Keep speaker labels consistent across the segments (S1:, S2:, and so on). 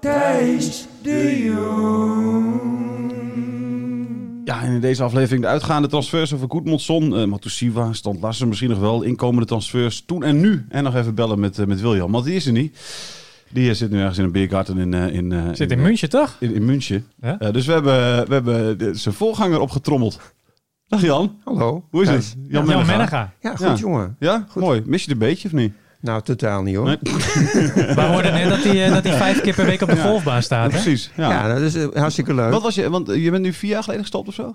S1: Thijs de Jong.
S2: Ja, en in deze aflevering de uitgaande transfers over Goedmondson, eh Matusiwa, Stand Larsen misschien nog wel, inkomende transfers toen en nu. En nog even bellen met, eh, met William, want die is er niet. Die eh, zit nu ergens in een biergarten in, eh, in, eh,
S3: Zit in München, toch?
S2: in, in München.
S3: Ja.
S2: Eh, dus we hebben, we hebben de- zijn voorganger opgetrommeld. Dag Jan,
S4: Hallo.
S2: hoe is
S4: Ja,
S2: het?
S3: Jan
S2: Mennega.
S3: Mennega.
S4: Ja, goed
S2: Ja.
S4: jongen.
S2: Ja, mooi. Mis je het een beetje of niet?
S4: Nou, totaal niet hoor.
S2: Nee.
S3: We hoorden net dat hij, eh, dat hij vijf keer per week op de golfbaan staat. Hè?
S2: Precies. Ja.
S4: Ja, nou, dat is eh, hartstikke leuk.
S2: Wat was je, want eh, je bent nu vier jaar geleden gestopt of zo?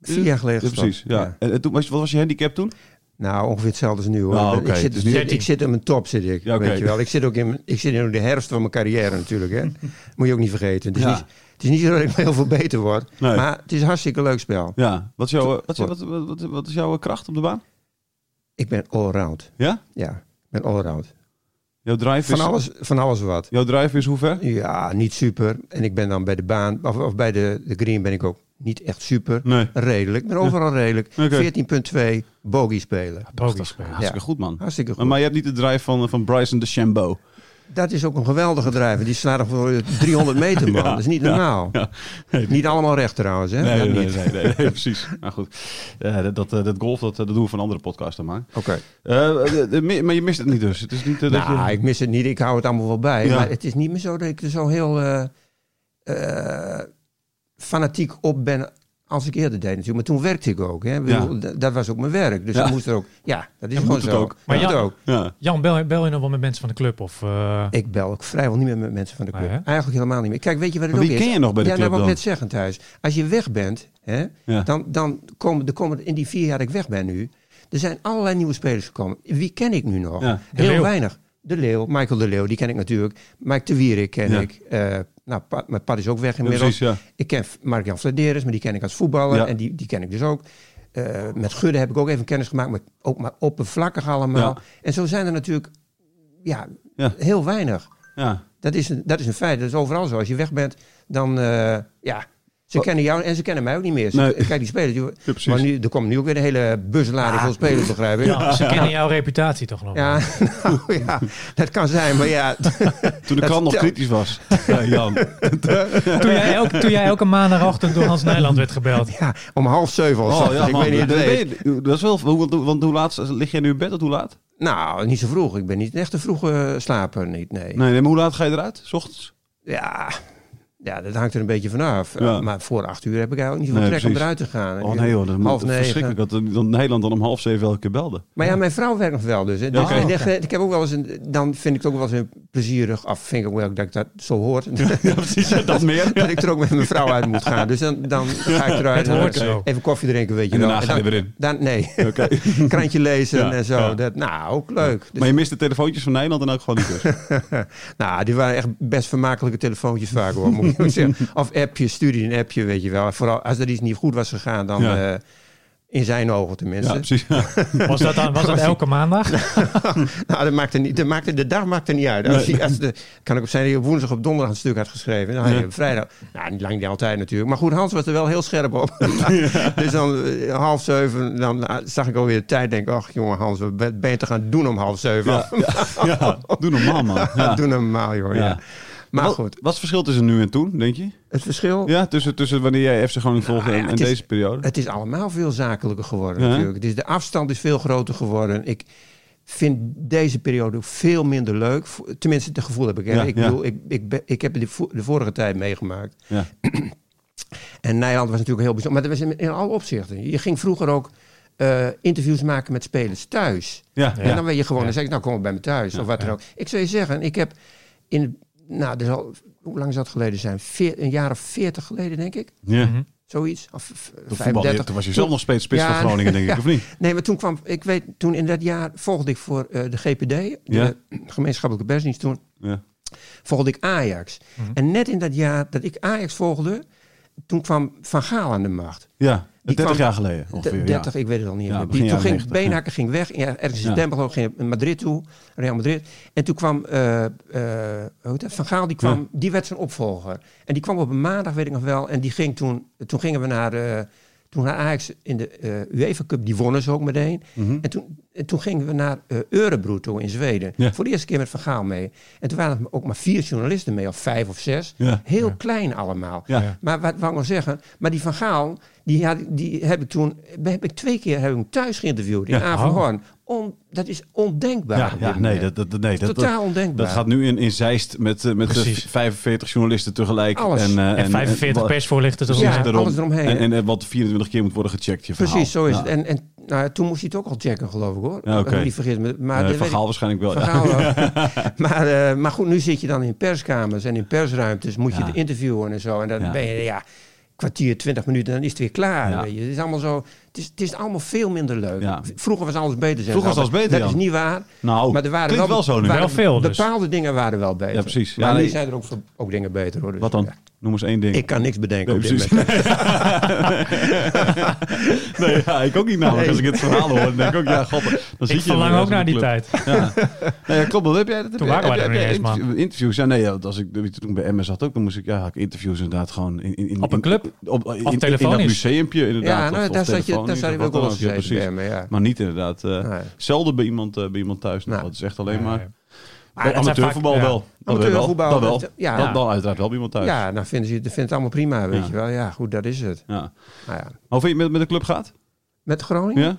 S4: Vier jaar geleden
S2: Ja,
S4: gestopt.
S2: precies. Ja. En, en toen, was je- wat was je handicap toen?
S4: Nou, ongeveer hetzelfde als nu hoor.
S2: Nou, oké,
S4: ik, zit,
S2: dus nu-
S4: ik, ik zit in mijn top, zit ik.
S2: Ja, oké.
S4: Weet je wel. Ik zit ook in, ik zit in de herfst van mijn carrière natuurlijk. Hè. Moet je ook niet vergeten. Het is,
S2: Ja.
S4: niet, het is niet zo dat ik heel veel beter word.
S2: Nee.
S4: Maar het is een hartstikke leuk spel.
S2: Ja. Wat is, jouw, eh, wat, is jouw- wat, wat, wat, wat is jouw eh, kracht op de baan?
S4: Ik ben allround.
S2: Ja?
S4: Ja, ik ben allround.
S2: Jouw drive
S4: Van
S2: is...
S4: alles, van alles wat.
S2: Jouw drive is hoe ver?
S4: Ja, niet super. En ik ben dan bij de baan, of, of bij de, de green ben ik ook niet echt super.
S2: Nee.
S4: Redelijk. Ik ben overal redelijk.
S2: Oké.
S4: 14.2 bogey spelen.
S3: Bogies spelen.
S2: Hartstikke goed, man.
S4: Hartstikke goed.
S2: Maar, maar je hebt niet de drive van, van Bryson de Chambeau.
S4: Dat is ook een geweldige drijver. Die slaat nog voor 300 meter, man. dat is niet normaal. Niet allemaal recht trouwens, hè?
S2: Nee,
S4: Dat
S2: nee, nee,
S4: niet.
S2: nee, nee, nee, precies. Maar goed, Eh, dat, dat, eh, dat golf dat, eh, dat doen we van andere podcasts dan maar.
S4: Oké.
S2: Eh, eh, eh, mi- maar je mist het niet dus. Het is niet eh, dat
S4: Nou,
S2: je...
S4: ik mis het niet. Ik hou het allemaal wel bij.
S2: Ja.
S4: Maar het is niet meer zo dat ik er zo heel eh, eh, fanatiek op ben als ik eerder deed natuurlijk. Maar toen werkte ik ook, hè? Ik bedoel, d- Dat was ook mijn werk. Dus
S2: Ja.
S4: ik moest er ook... Ja, dat is
S2: En
S4: gewoon
S2: moet het
S4: zo.
S2: ook.
S3: Maar
S4: Moet
S3: ja-
S4: het ook.
S2: Ja.
S3: Jan, bel, bel je nog wel met mensen van de club? Of, eh,
S4: Ik bel ook vrijwel niet meer met mensen van de club.
S3: Nee, hè?
S4: Eigenlijk helemaal niet meer. Kijk, weet je wat het
S2: Ah, Maar
S4: ook
S2: wie
S4: is?
S2: ken je nog bij de
S4: ja,
S2: club
S4: dat
S2: dan?
S4: ik net zeggen, Thijs. Als je weg bent, hè,
S2: Ja.
S4: dan, dan komen, er komen in die vier jaar dat ik weg ben nu... er zijn allerlei nieuwe spelers gekomen. Wie ken ik nu nog?
S2: Ja.
S3: De
S4: Heel
S3: Leeuw.
S4: weinig. De Leeuw, Michael De Leeuw, die ken ik natuurlijk. Mike de Wierik ken
S2: Ja.
S4: ik. Eh, nou, Pat, maar Pat is ook weg
S2: Ja,
S4: inmiddels.
S2: precies, ja.
S4: Ik ken Mark-Jan Flederis, maar die ken ik als voetballer.
S2: Ja.
S4: En die, die ken ik dus ook. Eh, met Gudde heb ik ook even kennis gemaakt. Maar ook maar oppervlakkig allemaal.
S2: Ja.
S4: En zo zijn er natuurlijk ja,
S2: Ja.
S4: heel weinig.
S2: ja.
S4: Dat is, een, dat is een feit. Dat is overal zo. Als je weg bent, dan... eh, ja, ze
S2: Wat-
S4: kennen jou en ze kennen mij ook niet meer. Ze-
S2: Nee.
S4: Kijk, die spelers... Die,
S2: precies.
S4: maar nu, er komt nu ook weer een hele buslading van spelers, begrijp ik.
S3: Jan, ze kennen jouw reputatie toch nog
S4: Ja,
S3: wel?
S4: nou, ja, dat kan zijn, maar ja.
S2: Toen de
S4: Dat
S2: krant nog
S4: telt.
S2: kritisch was. Ja, Jan.
S3: Toen, jij elke, toen jij elke maandagochtend door Hans Nijland werd gebeld.
S4: ja, om half zeven was
S2: Oh
S4: dat,
S2: ja,
S4: dus ik
S2: man.
S4: weet niet of je
S2: Dat
S4: het weet.
S2: weet je- Dat is wel... hoe- hoe- Want hoe laat lig jij nu in bed? Tot hoe laat?
S4: Nou, niet zo vroeg. Ik ben niet echt een vroege slaper, niet, nee.
S2: Nee, nee, maar hoe laat ga je eruit? S ochtends?
S4: Ja, ja, dat hangt er een beetje vanaf.
S2: Ja.
S4: Eh, Maar voor acht uur heb ik eigenlijk niet zoveel
S2: Nee,
S4: trek
S2: precies.
S4: om eruit te gaan.
S2: Oh nee hoor, dat
S4: Half
S2: moet
S4: negen. Dus-
S2: verschrikkelijk dat eh, dat Nederland dan om half zeven elke keer belde.
S4: Maar ja, mijn vrouw werkt nog wel dus. Hè. Dus
S2: oké.
S4: en echt, eh, ik heb ook wel eens een, dan vind ik het ook wel eens een plezierig af. Vind ik ook wel dat ik dat zo hoort.
S2: Ja, precies. ja, Dat meer.
S4: dat ik er ook met mijn vrouw uit moet gaan. Dus dan, dan ga ik eruit.
S3: Het hoort
S4: en,
S3: zo.
S4: Even koffie drinken, weet je
S2: En
S4: wel.
S2: daarna ga je
S4: dan-
S2: weer in.
S4: dan- nee,
S2: Oké.
S4: krantje lezen
S2: Ja,
S4: en zo.
S2: ja.
S4: Dat, nou, ook leuk. Dus,
S2: Maar je mist de telefoontjes van Nederland en ook gewoon niet dus.
S4: nou, die waren echt best vermakelijke telefoontjes vaak hoor, moet ik ook zeggen. Of appjes, stuurde een appje, weet je wel. Vooral als er iets niet goed was gegaan, dan...
S2: Ja.
S4: eh, in zijn ogen tenminste.
S2: Ja, precies. Ja.
S3: Was dat, dan, was dat elke maandag?
S4: Nou, dat maakte niet, dat maakte, de dag maakte niet uit. Als, hij- als de, kan ik op zijn dat hij op woensdag op donderdag een stuk had geschreven. Dan had je op vrijdag. Nou, niet lang niet altijd natuurlijk. Maar goed, Hans was er wel heel scherp op. dus dan eh, half zeven, dan ah, zag ik alweer de tijd. Denk, ach jongen Hans, wat ben ben je te gaan doen om half zeven?
S2: Ja, ja, doe normaal man. Ja.
S4: Doe normaal, joh. Ja.
S2: Ja.
S4: Maar
S2: Wat-
S4: goed,
S2: Wat is het verschil tussen nu en toen, denk je?
S4: het verschil.
S2: Ja, tussen, tussen wanneer jij FC Groningen volgde
S4: ja,
S2: en, en
S4: Nou, het is-
S2: deze periode?
S4: Het is allemaal veel zakelijker geworden
S2: Ja, hè?
S4: natuurlijk. Het is, de afstand is veel groter geworden. Ik, vind deze periode ook veel minder leuk. Vo- Tenminste, het gevoel heb ik. Hè.
S2: Ja,
S4: ik
S2: ja.
S4: bedoel, ik, ik, ben- ik heb de, vo- de vorige tijd meegemaakt.
S2: Ja.
S4: En Nijland was natuurlijk heel bijzonder. Maar dat was in, in alle opzichten. Je ging vroeger ook eh, interviews maken met spelers thuis.
S2: Ja.
S4: En
S2: Ja.
S4: dan ben je gewoon, dan zeg ik, nou kom bij me thuis. of wat dan ook. Ik zou je zeggen, ik heb in, nou, dus al, hoe lang zou het geleden zijn? Veer- een jaar of veertig geleden, denk ik.
S2: ja.
S4: Zoiets. Of v-
S2: Toen voetbalde je-
S4: 35.
S2: Toen was je zelf nog steeds spits
S4: Ja,
S2: van Groningen, denk ik,
S4: ja.
S2: of niet?
S4: Nee, maar toen kwam, ik weet, toen in dat jaar volgde ik voor eh, de GPD, de
S2: Ja.
S4: gemeenschappelijke persdienst toen,
S2: Ja.
S4: volgde ik Ajax. En net in dat jaar dat ik Ajax volgde, toen kwam Van Gaal aan de macht.
S2: Ja,
S4: Die
S2: 30
S4: kwam-
S2: jaar geleden ongeveer. ja.
S4: 30, ik weet het al niet
S2: Ja,
S4: meer.
S2: begin
S4: Die, toen
S2: jaren
S4: ging
S2: 90, ja.
S4: Beenhakker ging weg. Ja, ergens in
S2: Ja.
S4: september geloof ik, ging hij naar Madrid toe. Real Madrid. En toen kwam eh, eh, hoe heet dat? Van Gaal, die, kwam, die werd zijn opvolger. En die kwam op een maandag, weet ik nog wel. En die ging toen, toen gingen we naar, eh, toen naar Ajax in de eh, UEFA Cup. Die wonnen ze ook meteen.
S2: Mhm.
S4: En, toen, en toen gingen we naar eh Örebro toe in Zweden.
S2: Ja.
S4: Voor de eerste keer met Van Gaal mee. En toen waren er ook maar vier journalisten mee, of vijf of zes.
S2: Ja.
S4: Heel klein allemaal.
S2: Ja. Ja.
S4: Maar wat wou ik nog zeggen? Maar die Van Gaal, die, had, die heb ik toen... Heb ik twee keer heb ik hem thuis geïnterviewd in
S2: Ja. oh.
S4: Averhoorn. On- dat is ondenkbaar.
S2: Ja,
S4: op
S2: ja
S4: dit
S2: nee, dat,
S4: moment.
S2: dat, dat- nee, dat,
S4: Totaal
S2: dat-
S4: ondenkbaar.
S2: Dat gaat nu in, in Zeist met, eh, met eh,
S5: Precies.
S2: 45 journalisten tegelijk.
S4: Alles.
S2: En, eh,
S5: En 45
S2: en-
S5: persvoorlichters. of
S4: Ja,
S5: zo.
S2: Precies, daarom.
S4: alles eromheen.
S2: En, en, eh, wat 24 keer moet worden gecheckt, je verhaal.
S4: Precies, zo is
S2: Ja.
S4: het. En, en nou, ja, toen moest hij het ook al checken, geloof ik, hoor.
S2: Ja, oké.
S4: Ik moet niet vergeten. Maar, maar
S2: Eh,
S4: dat
S2: Van
S4: weet ik-
S2: Gaal waarschijnlijk wel.
S4: Van
S2: ja.
S4: Gaal, hoor. maar, eh, maar goed, nu zit je dan in perskamers en in persruimtes. Moet
S2: Ja.
S4: je de interviewen en zo. En dan
S2: Ja.
S4: ben je, ja, kwartier, twintig minuten, dan is het weer klaar.
S2: Ja.
S4: Weet je. Het is allemaal zo... Het is, het is allemaal veel minder leuk.
S2: Ja.
S4: V- Vroeger was alles beter, zeggen
S2: Vroeger
S4: ze
S2: was alles
S4: altijd.
S2: beter,
S4: Dat
S2: Jan.
S4: is niet waar.
S2: Nou,
S4: maar er waren
S2: klinkt wel zo nu.
S4: waren
S5: Wel veel dus.
S4: Bepaalde dingen waren wel beter.
S2: Ja, precies.
S4: Maar
S2: Ja,
S4: nu
S2: nee.
S4: zijn er ook, veel- ook dingen beter, hoor. Dus,
S2: Wat dan?
S4: ja.
S2: Noem eens één ding.
S4: Ik kan niks bedenken
S2: Nee,
S4: op dit
S2: precies.
S4: moment.
S2: nee, ja, ik ook niet namelijk. Als ik het verhaal hoor, dan denk ik ook, ja, god. Dan zit
S5: Ik
S2: je
S5: verlang
S2: weer
S5: ook
S2: in
S5: naar die
S2: zo'n club.
S5: tijd.
S2: Nou ja, klopt. Dat heb jij, dat
S5: Toen
S2: heb
S5: waren
S2: jij-
S5: wij
S2: heb
S5: er
S2: jij
S5: niet eens,
S2: interview- Interviews, ja, nee, ja, als ik, toen ik bij Emmen zat ook, dan moest ik, ja, had ik interviews inderdaad gewoon... In, in, in,
S5: Op een club?
S2: Op, in, in, dat
S5: telefonisch?
S2: museumpje inderdaad.
S4: Ja, nou,
S2: of- of
S4: daar zat je- daar
S2: telefonisch,
S4: zat je
S2: of wat
S4: ook
S2: dan
S4: wel eens
S2: ja,
S4: gezeten bij Emmen, ja.
S2: Maar niet inderdaad. eh,
S4: Nee.
S2: Zelden bij iemand, eh, bij iemand thuis. nog.
S4: Nou.
S2: Dat is echt alleen maar...
S5: dat
S2: Maar
S5: zijn
S2: amateurvoetbal
S5: vaak- ja.
S2: wel. Dat wel.
S4: Amateurvoetbal,
S2: Dat wel.
S4: dat- ja.
S2: Dat- Dan uiteraard wel bij iemand thuis.
S4: Ja, dan vinden ze het, vinden het allemaal prima, weet
S2: Ja.
S4: je wel. Ja, goed, dat is het.
S2: Ja.
S4: Nou ja.
S2: Maar Hoe vind je het met, met de club gaat?
S4: Met Groningen?
S2: Ja?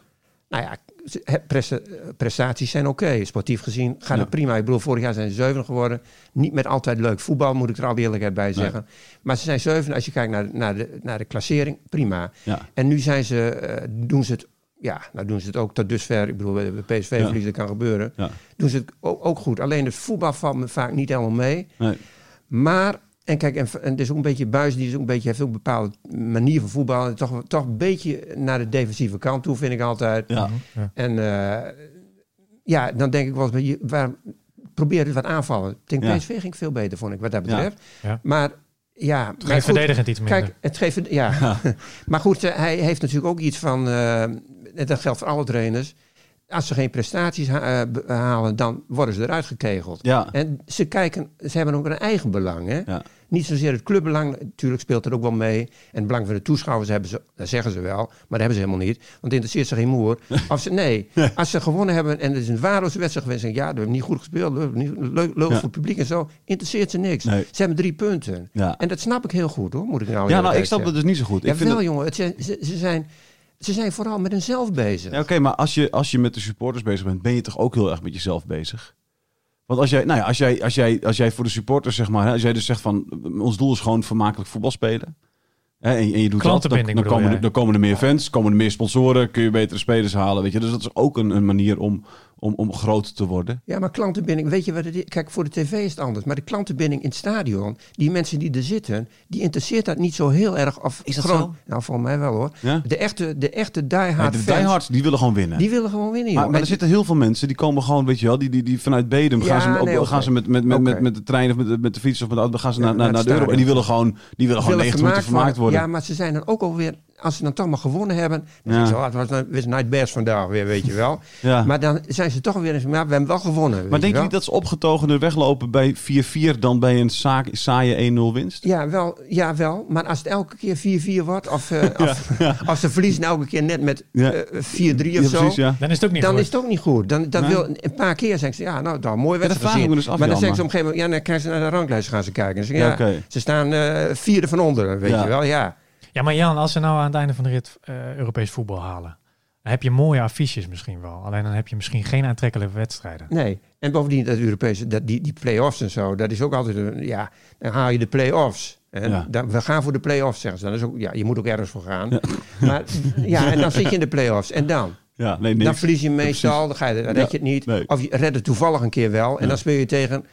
S4: Nou ja, ze- he- presta- eh, prestaties zijn oké. Sportief gezien gaat
S2: Ja.
S4: het prima. Ik bedoel, vorig jaar zijn ze zeven geworden. Niet met altijd leuk voetbal, moet ik er al eerlijkheid bij zeggen. Maar ze zijn zeven. Als je kijkt naar, naar, de, naar de klassering, prima.
S2: Ja.
S4: En nu zijn ze, eh, doen ze het... Ja, nou doen ze het ook tot dusver. Ik bedoel, bij bij PSV
S2: Ja.
S4: verliezen, dat kan gebeuren.
S2: Ja.
S4: Doen ze het ook, ook goed. Alleen het voetbal valt me vaak niet helemaal mee.
S2: Nee.
S4: Maar, en kijk, en, en het is ook een beetje buis, die is ook een beetje, heeft ook een bepaalde manier van voetbal. En toch, toch een beetje naar de defensieve kant toe, vind ik altijd.
S2: Ja.
S4: En eh, ja, dan denk ik wel eens, maar je- waar, probeer het wat aanvallen. Tegen
S2: Ja.
S4: PSV ging het veel beter, vond ik, wat dat
S2: Ja.
S4: betreft.
S5: Ja.
S4: Maar ja,
S5: Het
S4: maar
S5: ging
S4: goed,
S5: verdedigend iets minder.
S4: Kijk, het geeft, ja. maar goed, eh, hij heeft natuurlijk ook iets van, eh, en dat geldt voor alle trainers. Als ze geen prestaties ha- eh, be- halen, dan worden ze eruit gekegeld.
S2: Ja.
S4: En ze kijken, ze hebben ook een eigen belang. Hè?
S2: Ja.
S4: Niet zozeer het clubbelang, natuurlijk speelt dat ook wel mee. En het belang van de toeschouwers hebben ze, dat zeggen ze wel, maar dat hebben ze helemaal niet. Want het interesseert ze geen moer. Of ze, nee, als ze gewonnen hebben en het is een waardeloze wedstrijd geweest. En ja, we hebben niet goed gespeeld, we hebben niet, leuk, leuk
S2: Ja.
S4: voor het publiek en zo. Interesseert ze niks.
S2: Nee.
S4: Ze hebben drie punten.
S2: Ja.
S4: En dat snap ik heel goed hoor, moet ik nou
S2: Ja, nou,
S4: eerlijk
S2: ik snap dat
S4: zeggen.
S2: dus niet zo goed. Ik vind
S4: Jawel
S2: dat-
S4: jongen, het zijn, ze, ze zijn, ze zijn vooral met hunzelf bezig.
S2: Ja, oké, maar als je, als je met de supporters bezig bent, ben je toch ook heel erg met jezelf bezig? Want als jij, nou ja, als jij, als jij, als jij voor de supporters, zeg maar, hè, als jij dus zegt van eh, ons doel is gewoon vermakelijk voetbal spelen. Hè, en, en je doet dat, dan,
S5: Klantenbinding
S2: dan,
S5: bedoel
S2: komen er,
S5: jij?
S2: dan komen er meer fans, komen er meer sponsoren, kun je betere spelers halen. Weet je? Dus dat is ook een, een manier om, om, om groot te worden.
S4: Ja, maar klantenbinding, weet je wat het is? Kijk, voor de tv is het anders. Maar de klantenbinding in het stadion, die mensen die er zitten, die interesseert dat niet zo heel erg. Of
S2: Is dat zo?
S4: Nou, volgens mij wel hoor.
S2: Ja?
S4: De echte, de echte diehard
S2: Maar de
S4: fans,
S2: diehards, die willen gewoon winnen.
S4: die willen gewoon winnen. joh.
S2: maar, maar er zitten heel veel mensen die komen gewoon, weet je wel, die, die, die vanuit Bedum
S4: Ja,
S2: gaan ze, op,
S4: nee, oké.
S2: gaan ze met, met, met, met,
S4: Oké.
S2: met de trein of met, de- met de fiets of met de auto gaan ze
S4: Ja,
S2: naar, naar,
S4: naar
S2: naar
S4: het
S2: de Euro. En die
S4: stadion.
S2: willen gewoon, die willen gewoon
S4: willen
S2: 90 minuten vermaakt worden.
S4: Ja, maar ze zijn dan ook alweer, als ze dan toch maar gewonnen hebben. Dan
S2: Ja.
S4: ja. zo, ah, het was een was night best vandaag weer, weet je wel.
S2: Ja.
S4: Maar dan zijn ze toch weer eens, maar we hebben wel gewonnen. weet
S2: Maar denk je
S4: wel.
S2: niet dat ze opgetogener weglopen bij 4-4 dan bij een saa- saaie 1-0 winst?
S4: Ja wel, ja, wel. Maar als het elke keer 4-4 wordt, of, eh, of als ze verliezen elke keer net met
S2: Ja.
S4: eh, 4-3
S2: Ja,
S4: of zo.
S2: precies, ja.
S5: Dan is het ook niet
S4: dan
S5: goed.
S4: is het ook niet goed. Dan, dan
S2: Nee.
S4: wil, een paar keer zeggen ze, ja, nou, dan mooi
S2: dat
S4: wedstrijd
S2: vraag ik
S4: gezien.
S2: me dus af,
S4: maar dan
S2: Jan,
S4: zeggen ze op een gegeven moment, ja, dan krijgen ze naar de ranglijst gaan ze kijken. Dan zeggen
S2: Ja,
S4: ze, ja,
S2: oké.
S4: Ze staan eh, vierde van onder, weet
S2: Ja.
S4: je wel, ja.
S5: Ja, maar Jan, als ze nou aan het einde van de rit eh, Europees voetbal halen.
S3: Dan heb je mooie affiches misschien wel. Alleen dan heb je misschien geen aantrekkelijke wedstrijden.
S4: Nee. En bovendien dat Europese, dat, die, die play-offs en zo, dat is ook altijd een, ja, dan haal je de play-offs. En
S2: Ja.
S4: dan- we gaan voor de play-offs, zeggen ze. Dan is ook, ja, je moet ook ergens voor gaan. Maar ja, en dan zit je in de play-offs. En dan?
S2: Ja, nee, niks.
S4: Dan verlies je meestal, dan, ga je, dan red
S2: Ja,
S4: je het niet.
S2: nee.
S4: Of je redt het toevallig een keer wel. En dan speel je tegen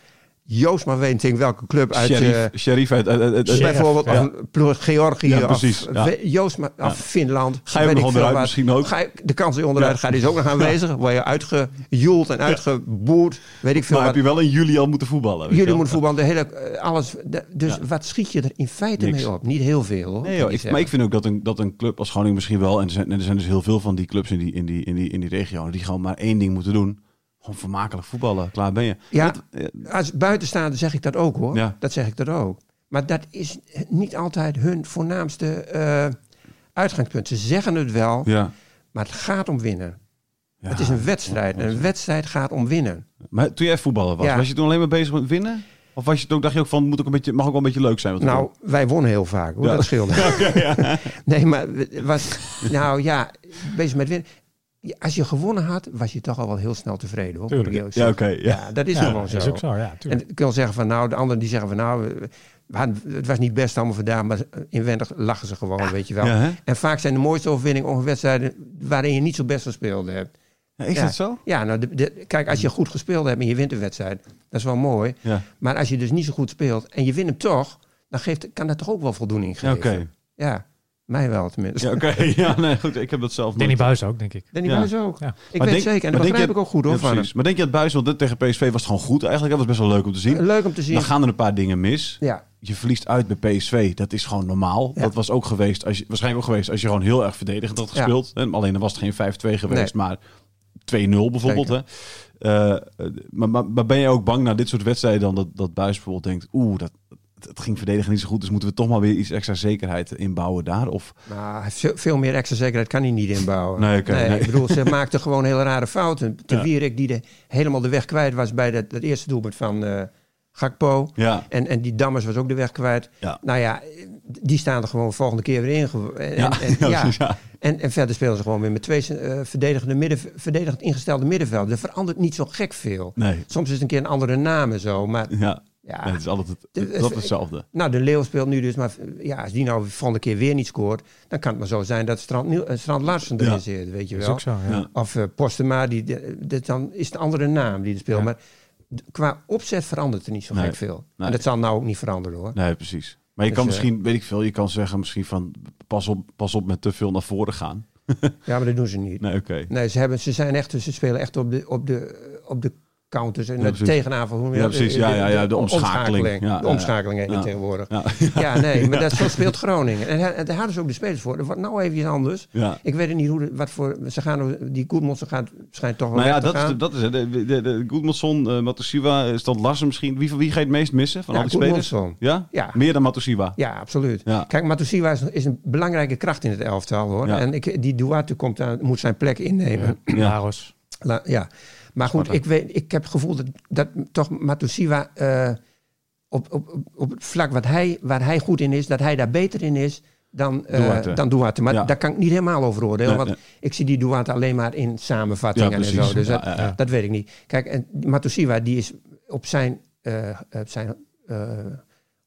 S4: Joost maar weet tegen welke club uit...
S2: Sheriff,
S4: eh,
S2: sheriff uit... uit- uit- uit-
S3: Sheriff.
S4: bijvoorbeeld
S2: Ja.
S4: of een ploeg Georgië
S2: Ja,
S4: of
S2: precies, ja.
S4: We- Joost maar, of Finland.
S2: Ga je
S4: weet
S2: nog
S4: ik veel
S2: onderuit
S4: wat.
S2: misschien ook?
S4: Ga je, de kans die onderuit gaat is ook nog aanwezig. Word je uitgejoeld en uitgeboerd. Weet ik veel
S2: maar heb
S4: wat.
S2: je wel in juli al moeten voetballen? weet je
S4: Jullie
S2: wel?
S4: moeten voetbal, de hele, eh, alles. de- dus wat schiet je er in feite
S2: Niks.
S4: mee op? Niet heel veel hoor.
S2: Nee,
S4: kan
S2: joh,
S4: ik
S2: ik, maar
S4: zeggen.
S2: ik vind ook dat een, dat een club als Groningen misschien wel... En er, zijn, en er zijn dus heel veel van die clubs in die, in die, in die, in die regio... die gewoon maar één ding moeten doen. Gewoon vermakelijk voetballen. Klaar ben je.
S4: ja,
S2: eh,
S4: als buitenstaander zeg ik dat ook hoor.
S2: Ja.
S4: Dat zeg ik dat ook. Maar dat is niet altijd hun voornaamste eh, uitgangspunt. Ze zeggen het wel,
S2: Ja.
S4: maar het gaat om winnen.
S2: Ja.
S4: Het is een wedstrijd. En een wedstrijd gaat om winnen.
S2: Maar toen jij voetballer was,
S4: Ja.
S2: was je toen alleen maar bezig met winnen? Of was je toen, dacht je ook van, moet ook een beetje, mag ook wel een beetje leuk zijn? Wat we
S4: Nou, wij wonnen heel vaak. Hoor.
S2: Ja.
S4: Dat scheelde. Nee, maar we- was, nou ja, bezig met winnen. Ja, Als je gewonnen had, was je toch al wel heel snel tevreden. Hoor, moet ik
S5: Tuurlijk.
S4: eerlijk
S2: doen? Ja,
S4: zeggen.
S2: oké. ja.
S4: Ja, dat is
S5: Ja,
S4: gewoon zo.
S5: is ook zo, ja.
S4: En
S5: Tuurlijk.
S4: ik wil zeggen van nou, de anderen die zeggen van nou, we- we hadden- het was niet best allemaal vandaag, maar inwendig lachen ze gewoon, weet je wel.
S2: Ja, hè?
S4: En vaak zijn de mooiste overwinningen ongeveer wedstrijden waarin je niet zo best gespeeld hebt.
S2: Ja, is
S4: Ja.
S2: dat zo?
S4: Ja, nou, de- de- kijk, als je goed gespeeld hebt en je wint een wedstrijd, dat is wel mooi.
S2: Ja,
S4: Maar als je dus niet zo goed speelt en je wint hem toch, dan geeft, kan dat toch ook wel voldoening
S2: ja
S4: geven.
S2: oké.
S4: Ja, mij wel tenminste.
S2: Ja, oké. Ja, nee, goed. Ik heb dat zelf
S3: Danny
S2: nooit.
S3: Buis ook, denk ik.
S4: Danny
S2: Ja.
S4: Buijs ook.
S3: Ja.
S4: Ik
S2: Maar
S4: weet
S2: denk-
S4: zeker. En
S2: maar
S4: dat
S2: denk
S4: begrijp
S2: je-
S4: ik ook goed hoor.
S2: Ja,
S4: van hem.
S2: precies. Maar denk je dat Buis, want dit tegen PSV was het gewoon goed eigenlijk. Dat was best wel leuk om te zien.
S4: Leuk om te zien.
S2: Dan gaan er een paar dingen mis.
S4: Ja.
S2: Je verliest uit bij PSV. Dat is gewoon normaal.
S4: Ja.
S2: Dat was ook geweest, als je, waarschijnlijk ook geweest als je gewoon heel erg verdedigend had
S4: Ja.
S2: gespeeld. En alleen dan was het geen 5-2 geweest, maar 2-0 bijvoorbeeld. Hè?
S4: Zeker.
S2: Eh, eh, maar, maar, maar ben je ook bang na dit soort wedstrijden dan dat, dat Buis bijvoorbeeld denkt, oeh, dat, het- het ging verdedigen niet zo goed, dus moeten we toch maar weer iets extra zekerheid inbouwen daar? Of
S4: Nou, hij heeft veel- veel meer extra zekerheid kan hij niet inbouwen.
S2: Nee, oké, nee.
S4: Ik bedoel, ze maakte gewoon hele rare fouten. Te Wierik, die de, helemaal de weg kwijt was bij dat, dat eerste doelpunt van eh, Gakpo.
S2: ja,
S4: En, en die Dammers was ook de weg kwijt.
S2: Ja.
S4: Nou ja, die staan er gewoon volgende keer weer in. Ge- En,
S2: Ja,
S4: en, en,
S2: ja,
S4: ja.
S2: precies, ja.
S4: En, en verder spelen ze gewoon weer met twee eh, verdedigende midden, verdedigend ingestelde middenvelden. Er verandert niet zo gek veel.
S2: nee,
S4: Soms is het een keer een andere naam en zo. Maar
S2: ja,
S4: ja,
S2: Nee, het is altijd het,
S4: De-
S2: het- dat hetzelfde.
S4: nou, de Leeuw speelt nu dus, maar ja, als die nou de volgende keer weer niet scoort, dan kan het maar zo zijn dat Strand, Niel- eh, Strand Larsen erin
S2: Ja.
S4: zit, weet je
S3: Dat is
S4: wel.
S3: ook zo, ja.
S2: Ja.
S4: Of eh, Postema, die, de- dit dan is het een andere naam die er speelt.
S3: Ja.
S4: Maar d- qua opzet verandert er niet zo
S2: Nee.
S4: gek veel.
S2: Nee.
S4: En dat zal nou ook niet veranderen hoor.
S2: Nee, precies. Maar je
S4: Dus,
S2: kan
S4: eh,
S2: misschien, weet ik veel, je kan zeggen misschien van, pas op, pas op met te veel naar voren gaan.
S4: Ja, maar dat doen ze niet. Nee,
S2: Nee, oké.
S4: ze, hebben, ze, zijn echt, ze spelen echt op de, op de, op de counters en
S2: Ja,
S4: de
S2: precies.
S4: tegenaanval. hoe noem je
S2: Ja,
S4: dat?
S2: precies. Ja,
S4: Eh,
S2: ja, ja, de omschakeling. Ja,
S4: de
S2: ja,
S4: omschakeling heet
S2: ja.
S4: het tegenwoordig.
S2: Ja,
S4: Ja, nee, maar dat, zo speelt Groningen. En, daar- daar hadden ze ook de spelers voor. Er wordt nou even iets anders.
S2: ja.
S4: Ik weet niet hoe de- wat voor. Ze gaan, die Goedmondsen gaat schijnt toch wel.
S2: Nou ja,
S4: weg te
S2: dat is,
S4: gaan.
S2: de- dat is het. De, de, de, de Gudmundsson, eh, Matusiwa, eh, Stand Larsen misschien. Wie, wie ga je het meest missen van
S4: Ja,
S2: al die spelers?
S4: Goedmundsson.
S2: Ja?
S4: Ja.
S2: Meer dan Matusiwa.
S4: Ja, absoluut.
S2: Ja.
S4: Kijk, Matusiwa is, is een belangrijke kracht in het elftal hoor.
S2: Ja.
S4: En ik, die Duarte komt aan, moet zijn plek innemen.
S2: Ja.
S3: Laros.
S4: La- ja. Maar goed, ik, weet, ik heb het gevoel dat, dat toch Matusiwa eh, op, op, op- op het vlak wat hij, waar hij goed in is, dat hij daar beter in is dan, eh
S2: Duarte.
S4: Dan Duarte. Maar
S2: Ja.
S4: daar kan ik niet helemaal over oordelen,
S2: Nee,
S4: want
S2: nee.
S4: ik zie die Duarte alleen maar in samenvattingen
S2: Ja,
S4: en
S2: precies.
S4: zo. Dus
S2: Ja,
S4: dat,
S2: ja, ja.
S4: dat weet ik niet. Kijk, en Matusiwa die is op zijn, eh, op zijn eh,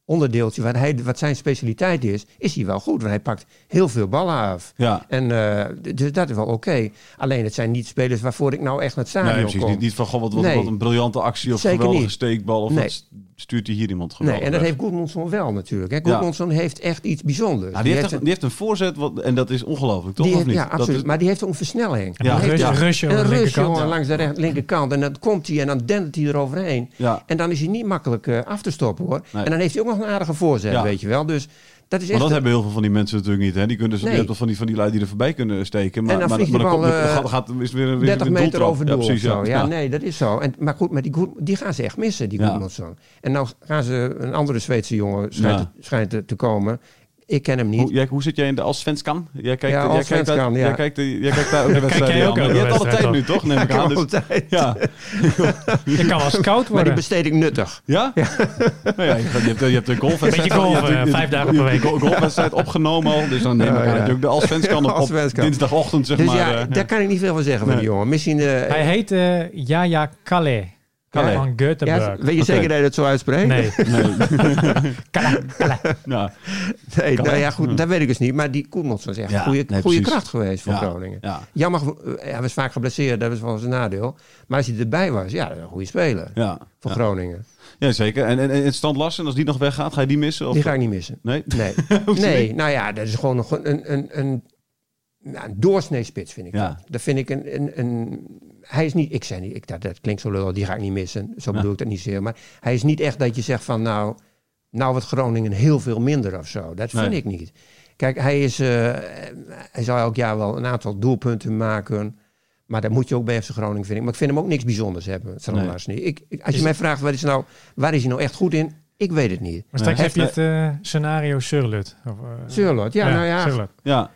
S4: onderdeeltje, waar hij, wat zijn specialiteit is, is hij wel goed. Want hij pakt heel veel ballen af.
S2: Ja.
S4: En eh, d- dus dat is wel oké. Alleen het zijn niet spelers waarvoor ik nou echt naar het
S2: Nee,
S4: stadion
S2: precies.
S4: kom.
S2: Niet, niet van, goh, wat, wat,
S4: Nee.
S2: wat een briljante actie of
S4: Zeker
S2: geweldige
S4: niet.
S2: steekbal. Of
S4: Nee.
S2: wat st- stuurt hij hier iemand gewoon.
S4: nee, en dat heeft Goedmondson wel natuurlijk. hè.
S2: Ja. Nou,
S4: Goedmondson heeft echt iets bijzonders.
S2: die, heeft echt- die heeft een voorzet wat, en dat is ongelooflijk, toch?
S4: die
S2: of
S4: heeft-
S2: niet?
S4: ja,
S2: Dat
S4: absoluut.
S2: is-
S4: Maar die heeft ook een versnelling.
S3: Ja,
S4: Die heeft
S3: rusje,
S4: echt
S3: rusje
S4: een
S3: over de
S4: rust,
S3: linkerkant,
S4: jongen,
S3: ja.
S4: langs de recht- linkerkant. En dan komt hij en dan dendert hij eroverheen.
S2: Ja.
S4: En dan is hij niet makkelijk eh, af te stoppen, hoor.
S2: Nee.
S4: En dan heeft hij ook nog een aardige voorzet,
S2: Ja.
S4: weet je wel. Dus dat is
S2: Maar
S4: echt...
S2: dat hebben heel veel van die mensen natuurlijk niet. Hè? Die kunnen ze
S4: Nee.
S2: je hebt wel van die, van die lui die er voorbij kunnen steken. Maar,
S4: En dan
S2: maar,
S4: vliegt
S2: maar
S4: die
S2: dan
S4: bal,
S2: komt- dan
S4: eh,
S2: gaat, gaat, is weer, een- weer
S4: 30
S2: een
S4: meter
S2: doeltrap.
S4: over doel
S2: ja, precies,
S4: of zo. Ja,
S2: ja.
S4: nee, dat is zo. En, maar goed, maar die, Goed- die gaan ze echt missen, die
S2: Ja.
S4: Goedmanson. En nou gaan ze een andere Zweedse jongen schijnt,
S2: Ja. Oh,
S4: schijnt er te komen. Ik ken hem
S2: Hoe,
S4: niet.
S2: jij, hoe zit jij in de als Svenskan? Jij kijkt,
S4: Ja,
S2: jij
S4: als
S2: kijkt,
S4: Svenskan,
S2: daar-
S4: ja.
S2: jij kijkt, jij kijkt daar ook naar wedstrijden.
S3: jij ook
S2: Jan.
S3: naar
S2: je
S3: de
S2: hebt alle tijd
S3: wedstrijd,
S2: nu, toch? Neem ik
S4: Ik
S2: aan.
S4: heb
S2: Dus,
S4: altijd.
S2: ja.
S3: Je kan wel eens koud
S4: Maar die
S3: worden.
S4: besteed ik nuttig.
S2: Ja? Nou ja, je hebt, je hebt de golfwedstrijd...
S3: Beetje golf,
S2: je hebt de-
S3: eh,
S2: de-
S3: vijf dagen per
S2: je hebt de
S3: week.
S2: go- golfwedstrijd opgenomen al. Dus dan neem ik
S4: Ja,
S2: aan
S4: ja.
S2: dat je ook de als Svenskan op,
S4: Als
S2: op
S4: Svenskan.
S2: dinsdagochtend, zeg
S4: Dus
S2: maar...
S4: ja,
S2: eh,
S4: daar kan ik niet veel van zeggen van die jongen. Misschien... eh,
S3: Hij heet eh Jaja Kalle.
S2: Kalle.
S3: Van
S4: ja,
S3: Göteborg.
S4: weet je zeker dat je dat zo uitspreekt?
S3: Nee.
S2: Nee.
S3: Kalle, Kalle.
S2: Ja.
S4: Nee,
S2: Kan
S4: nou
S2: ook.
S4: ja, goed, dat weet ik dus niet. Maar die Koelmans was echt
S2: Ja,
S4: een goede,
S2: nee,
S4: goede
S2: precies.
S4: kracht geweest voor
S2: Ja,
S4: Groningen.
S2: ja.
S4: Jammer, gevo- eh, hij was vaak geblesseerd, dat was wel zijn nadeel. Maar als hij erbij was, ja, dat was een goede speler
S2: Ja.
S4: voor Groningen.
S2: ja, zeker. En, en, en Stant Larsen, als die nog weggaat, ga je die missen? Of?
S4: Die ga ik niet missen.
S2: Nee?
S4: Nee, nee nou ja, dat is gewoon nog een, een, een, nou, een doorsnee-spits, vind ik.
S2: Ja.
S4: Dat. dat vind ik een, een, een... Hij is niet... Ik zei niet, ik, dat, dat klinkt zo lullig, die ga ik niet missen. Zo bedoel ik dat niet zeer. Maar hij is niet echt dat je zegt van, nou, nou wordt Groningen heel veel minder of zo. Dat vind
S2: Nee.
S4: ik niet. Kijk, hij, is, eh, hij zal elk jaar wel een aantal doelpunten maken. Maar dat moet je ook bij FC Groningen, vind ik. Maar ik vind hem ook niks bijzonders hebben, Sander
S2: Nee.
S4: Larsen. Ik, ik- als je mij vraagt, waar is, nou, waar is hij nou echt goed in? Ik weet het niet.
S3: Maar straks
S2: Nee.
S3: heb je het eh, scenario Surlut. Of, eh,
S4: Surlot, ja, nou ja,
S3: Surlut.
S2: Ja.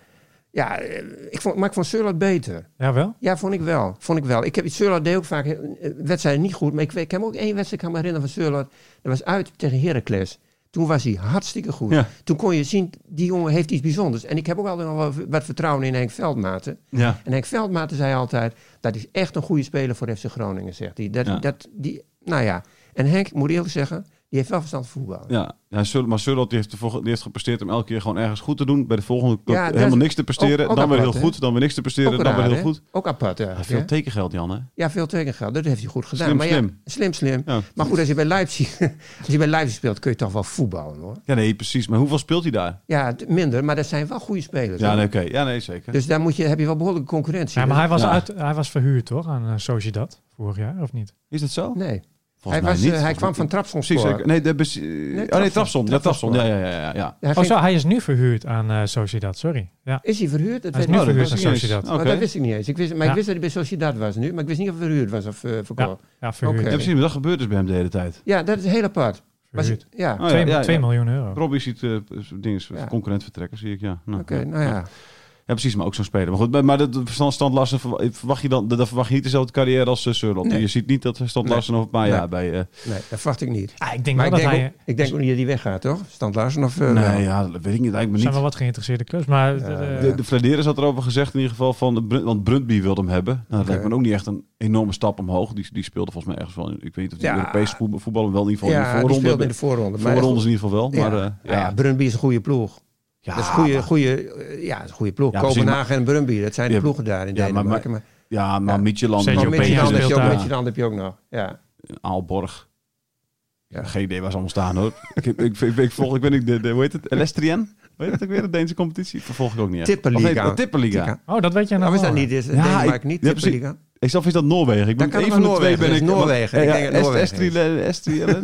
S4: Ja, eh, ik vond, maar ik vond Surlat beter.
S3: Jawel?
S4: Ja, vond ik wel. Vond ik wel. Ik heb Surlat deed ook vaak eh, wedstrijden niet goed. Maar ik, weet- ik heb ook één wedstrijd, ik kan me herinneren van Surlat. Dat was uit tegen Heracles. Toen was hij hartstikke goed.
S2: Ja.
S4: Toen kon je zien, die jongen heeft iets bijzonders. En ik heb ook altijd nog wel wat vertrouwen in Henk Veldmaten.
S2: Ja.
S4: En Henk Veldmaten zei altijd, dat is echt een goede speler voor FC Groningen, zegt hij. Dat,
S2: Ja.
S4: dat, die, nou ja, en Henk, moet ik eerlijk zeggen, die heeft wel verstand van voetbal.
S2: Ja, ja Sur- maar Surlot die heeft, de volg- die heeft gepresteerd om elke keer gewoon ergens goed te doen. Bij de volgende
S4: Ja, dat
S2: helemaal
S4: is
S2: niks te presteren.
S4: ook- ook
S2: dan weer heel
S4: apart, hè?
S2: goed. Dan weer niks te presteren.
S4: Ook,
S2: Dan weer
S4: raar,
S2: heel
S4: hè?
S2: goed.
S4: ook apart
S2: Ja,
S4: eigenlijk.
S2: veel
S4: hè?
S2: tekengeld, Jan, hè?
S4: Ja, veel tekengeld. Dat heeft hij goed gedaan.
S2: Slim,
S4: maar ja,
S2: slim.
S4: slim, slim.
S2: Ja.
S4: Maar goed, als je bij Leipzig, als je bij Leipzig speelt, kun je toch wel voetballen hoor.
S2: Ja, nee, precies. Maar hoeveel speelt hij daar?
S4: Ja, t- minder, maar dat zijn wel goede spelers.
S2: Ja,
S4: hoor.
S2: nee, oké. Ja, nee, zeker.
S4: Dus daar moet je, heb je wel behoorlijke concurrentie.
S3: Ja, maar hij was,
S2: Ja.
S3: uit, hij was verhuurd toch aan eh, Sociedad vorig jaar, of niet?
S2: Is dat zo?
S4: nee.
S2: Volgens
S4: hij
S2: mij
S4: was,
S2: niet.
S4: eh, hij
S2: Volgens
S4: kwam
S2: mij-
S4: van Trapsonspor.
S2: Precies, zeker. Nee, de bes- eh, oh, nee, Trabzon.
S4: Trabzon.
S2: Ja, Trapson. Ja, ja, ja, ja. ja.
S4: Hij
S3: Oh
S4: ging-
S3: zo, hij is nu verhuurd aan eh Sociedad, sorry. Ja.
S4: Is hij verhuurd? Dat
S3: Hij is
S4: weet
S3: nu
S4: ik niet.
S3: verhuurd
S2: dat was
S3: aan
S2: niet eens.
S3: Sociedad.
S2: Oh.
S4: Maar
S2: Oké.
S4: dat wist ik niet eens. Ik wist, maar
S3: Ja.
S4: ik wist dat hij bij Sociedad was nu, maar ik wist niet of hij verhuurd was of eh, verkocht.
S3: Ja, verhuurd.
S4: Oké.
S2: Ja, precies. Maar dat gebeurt dus bij hem de hele tijd.
S4: Ja. dat is heel apart. Was,
S3: Verhuurd.
S4: ja,
S2: Oh, ja,
S3: Twee-
S2: ja, ja.
S3: 2 miljoen euro.
S2: Robbie ziet eh dingen,
S4: Ja.
S2: concurrent vertrekken, zie ik, ja. Nou,
S4: oké,
S2: ja.
S4: nou ja.
S2: Ja, precies, maar ook zo'n speler. Maar goed, maar- maar dat dat Stan Stan Larsen verwa- verwacht je dan, dat dat verwacht je niet dezelfde carrière als uh,
S4: Nee.
S2: Je ziet niet dat Stan
S4: Nee.
S2: Larsen over een paar
S4: Nee.
S2: jaar bij... eh
S4: Nee, dat verwacht ik niet.
S3: Ah, ik denk
S4: Maar
S3: wel
S4: ik
S3: dat
S4: denk,
S3: hij...
S4: ook, ik denk ook niet dat hij weggaat, toch? Stand Larsen of... eh, wel?
S2: nee, ja, dat weet ik niet. Lijkt me
S3: Er
S2: niet.
S3: zijn wel wat geïnteresseerde clubs, maar...
S4: Ja,
S3: eh,
S2: De, de Fladeres had erover gezegd in ieder geval van, de Brun- want Brundby wilde hem hebben. Nou, dat
S4: Oké.
S2: lijkt me ook niet echt een enorme stap omhoog. Die, die speelde volgens mij ergens wel, in- ik weet niet of die
S4: Ja.
S2: Europese voetbal, voetbal hem wel in ieder geval
S4: ja,
S2: in
S4: die
S2: de
S4: speelde in de
S2: voorronde.
S4: voorronde. maar-
S2: Voorrondes in ieder geval wel, maar eh,
S4: ja.
S2: ja.
S4: ja, Brøndby is een goede ploeg.
S2: Ja,
S4: dat is een goede,
S2: maar-
S4: goede, eh, ja, dat is een goede ploeg.
S2: Ja, precies,
S4: Kopenhagen en Brøndby, dat zijn de
S2: Ja,
S4: ploegen daar in
S2: ja, maar-
S4: Denemarken. Maar,
S2: Ja, maar
S4: Ja.
S2: Midtjylland,
S3: Sergio
S4: maar,
S3: Joop
S4: Midtjylland
S3: Peña
S4: heb je
S3: speelt
S4: ook-
S3: daar.
S4: Midtjylland heb je ook nog. Ja.
S2: Aalborg.
S4: Ja.
S2: Geen idee waar ze allemaal staan hoor. ik, heb- ik, ik, ik volg, ik ben ik de, de, hoe heet het? Elestrien? Hoe heet het ook weer? De Deense competitie? Vervolg ik ook niet echt.
S4: Tipperliga.
S2: Of nee, oh, Tipperliga.
S4: Tikka.
S3: oh, dat weet jij
S4: Nou,
S3: nou
S4: is dat
S3: wel.
S4: niet? Is
S2: Ja,
S4: Denemarken
S2: ik-
S4: niet?
S2: ja, precies.
S4: Tipperliga?
S2: Ik zelf is dat Noorwegen. Ik ben
S4: Dan kan
S2: één
S4: het
S2: van
S4: wel
S2: de twee ben
S4: Noorwegen. Dat
S2: ik.
S4: is Noorwegen.
S2: Ja,
S4: Ik
S2: ja,
S4: denk dat het
S2: Est-
S4: Noorwegen
S2: Estrielen-
S4: is.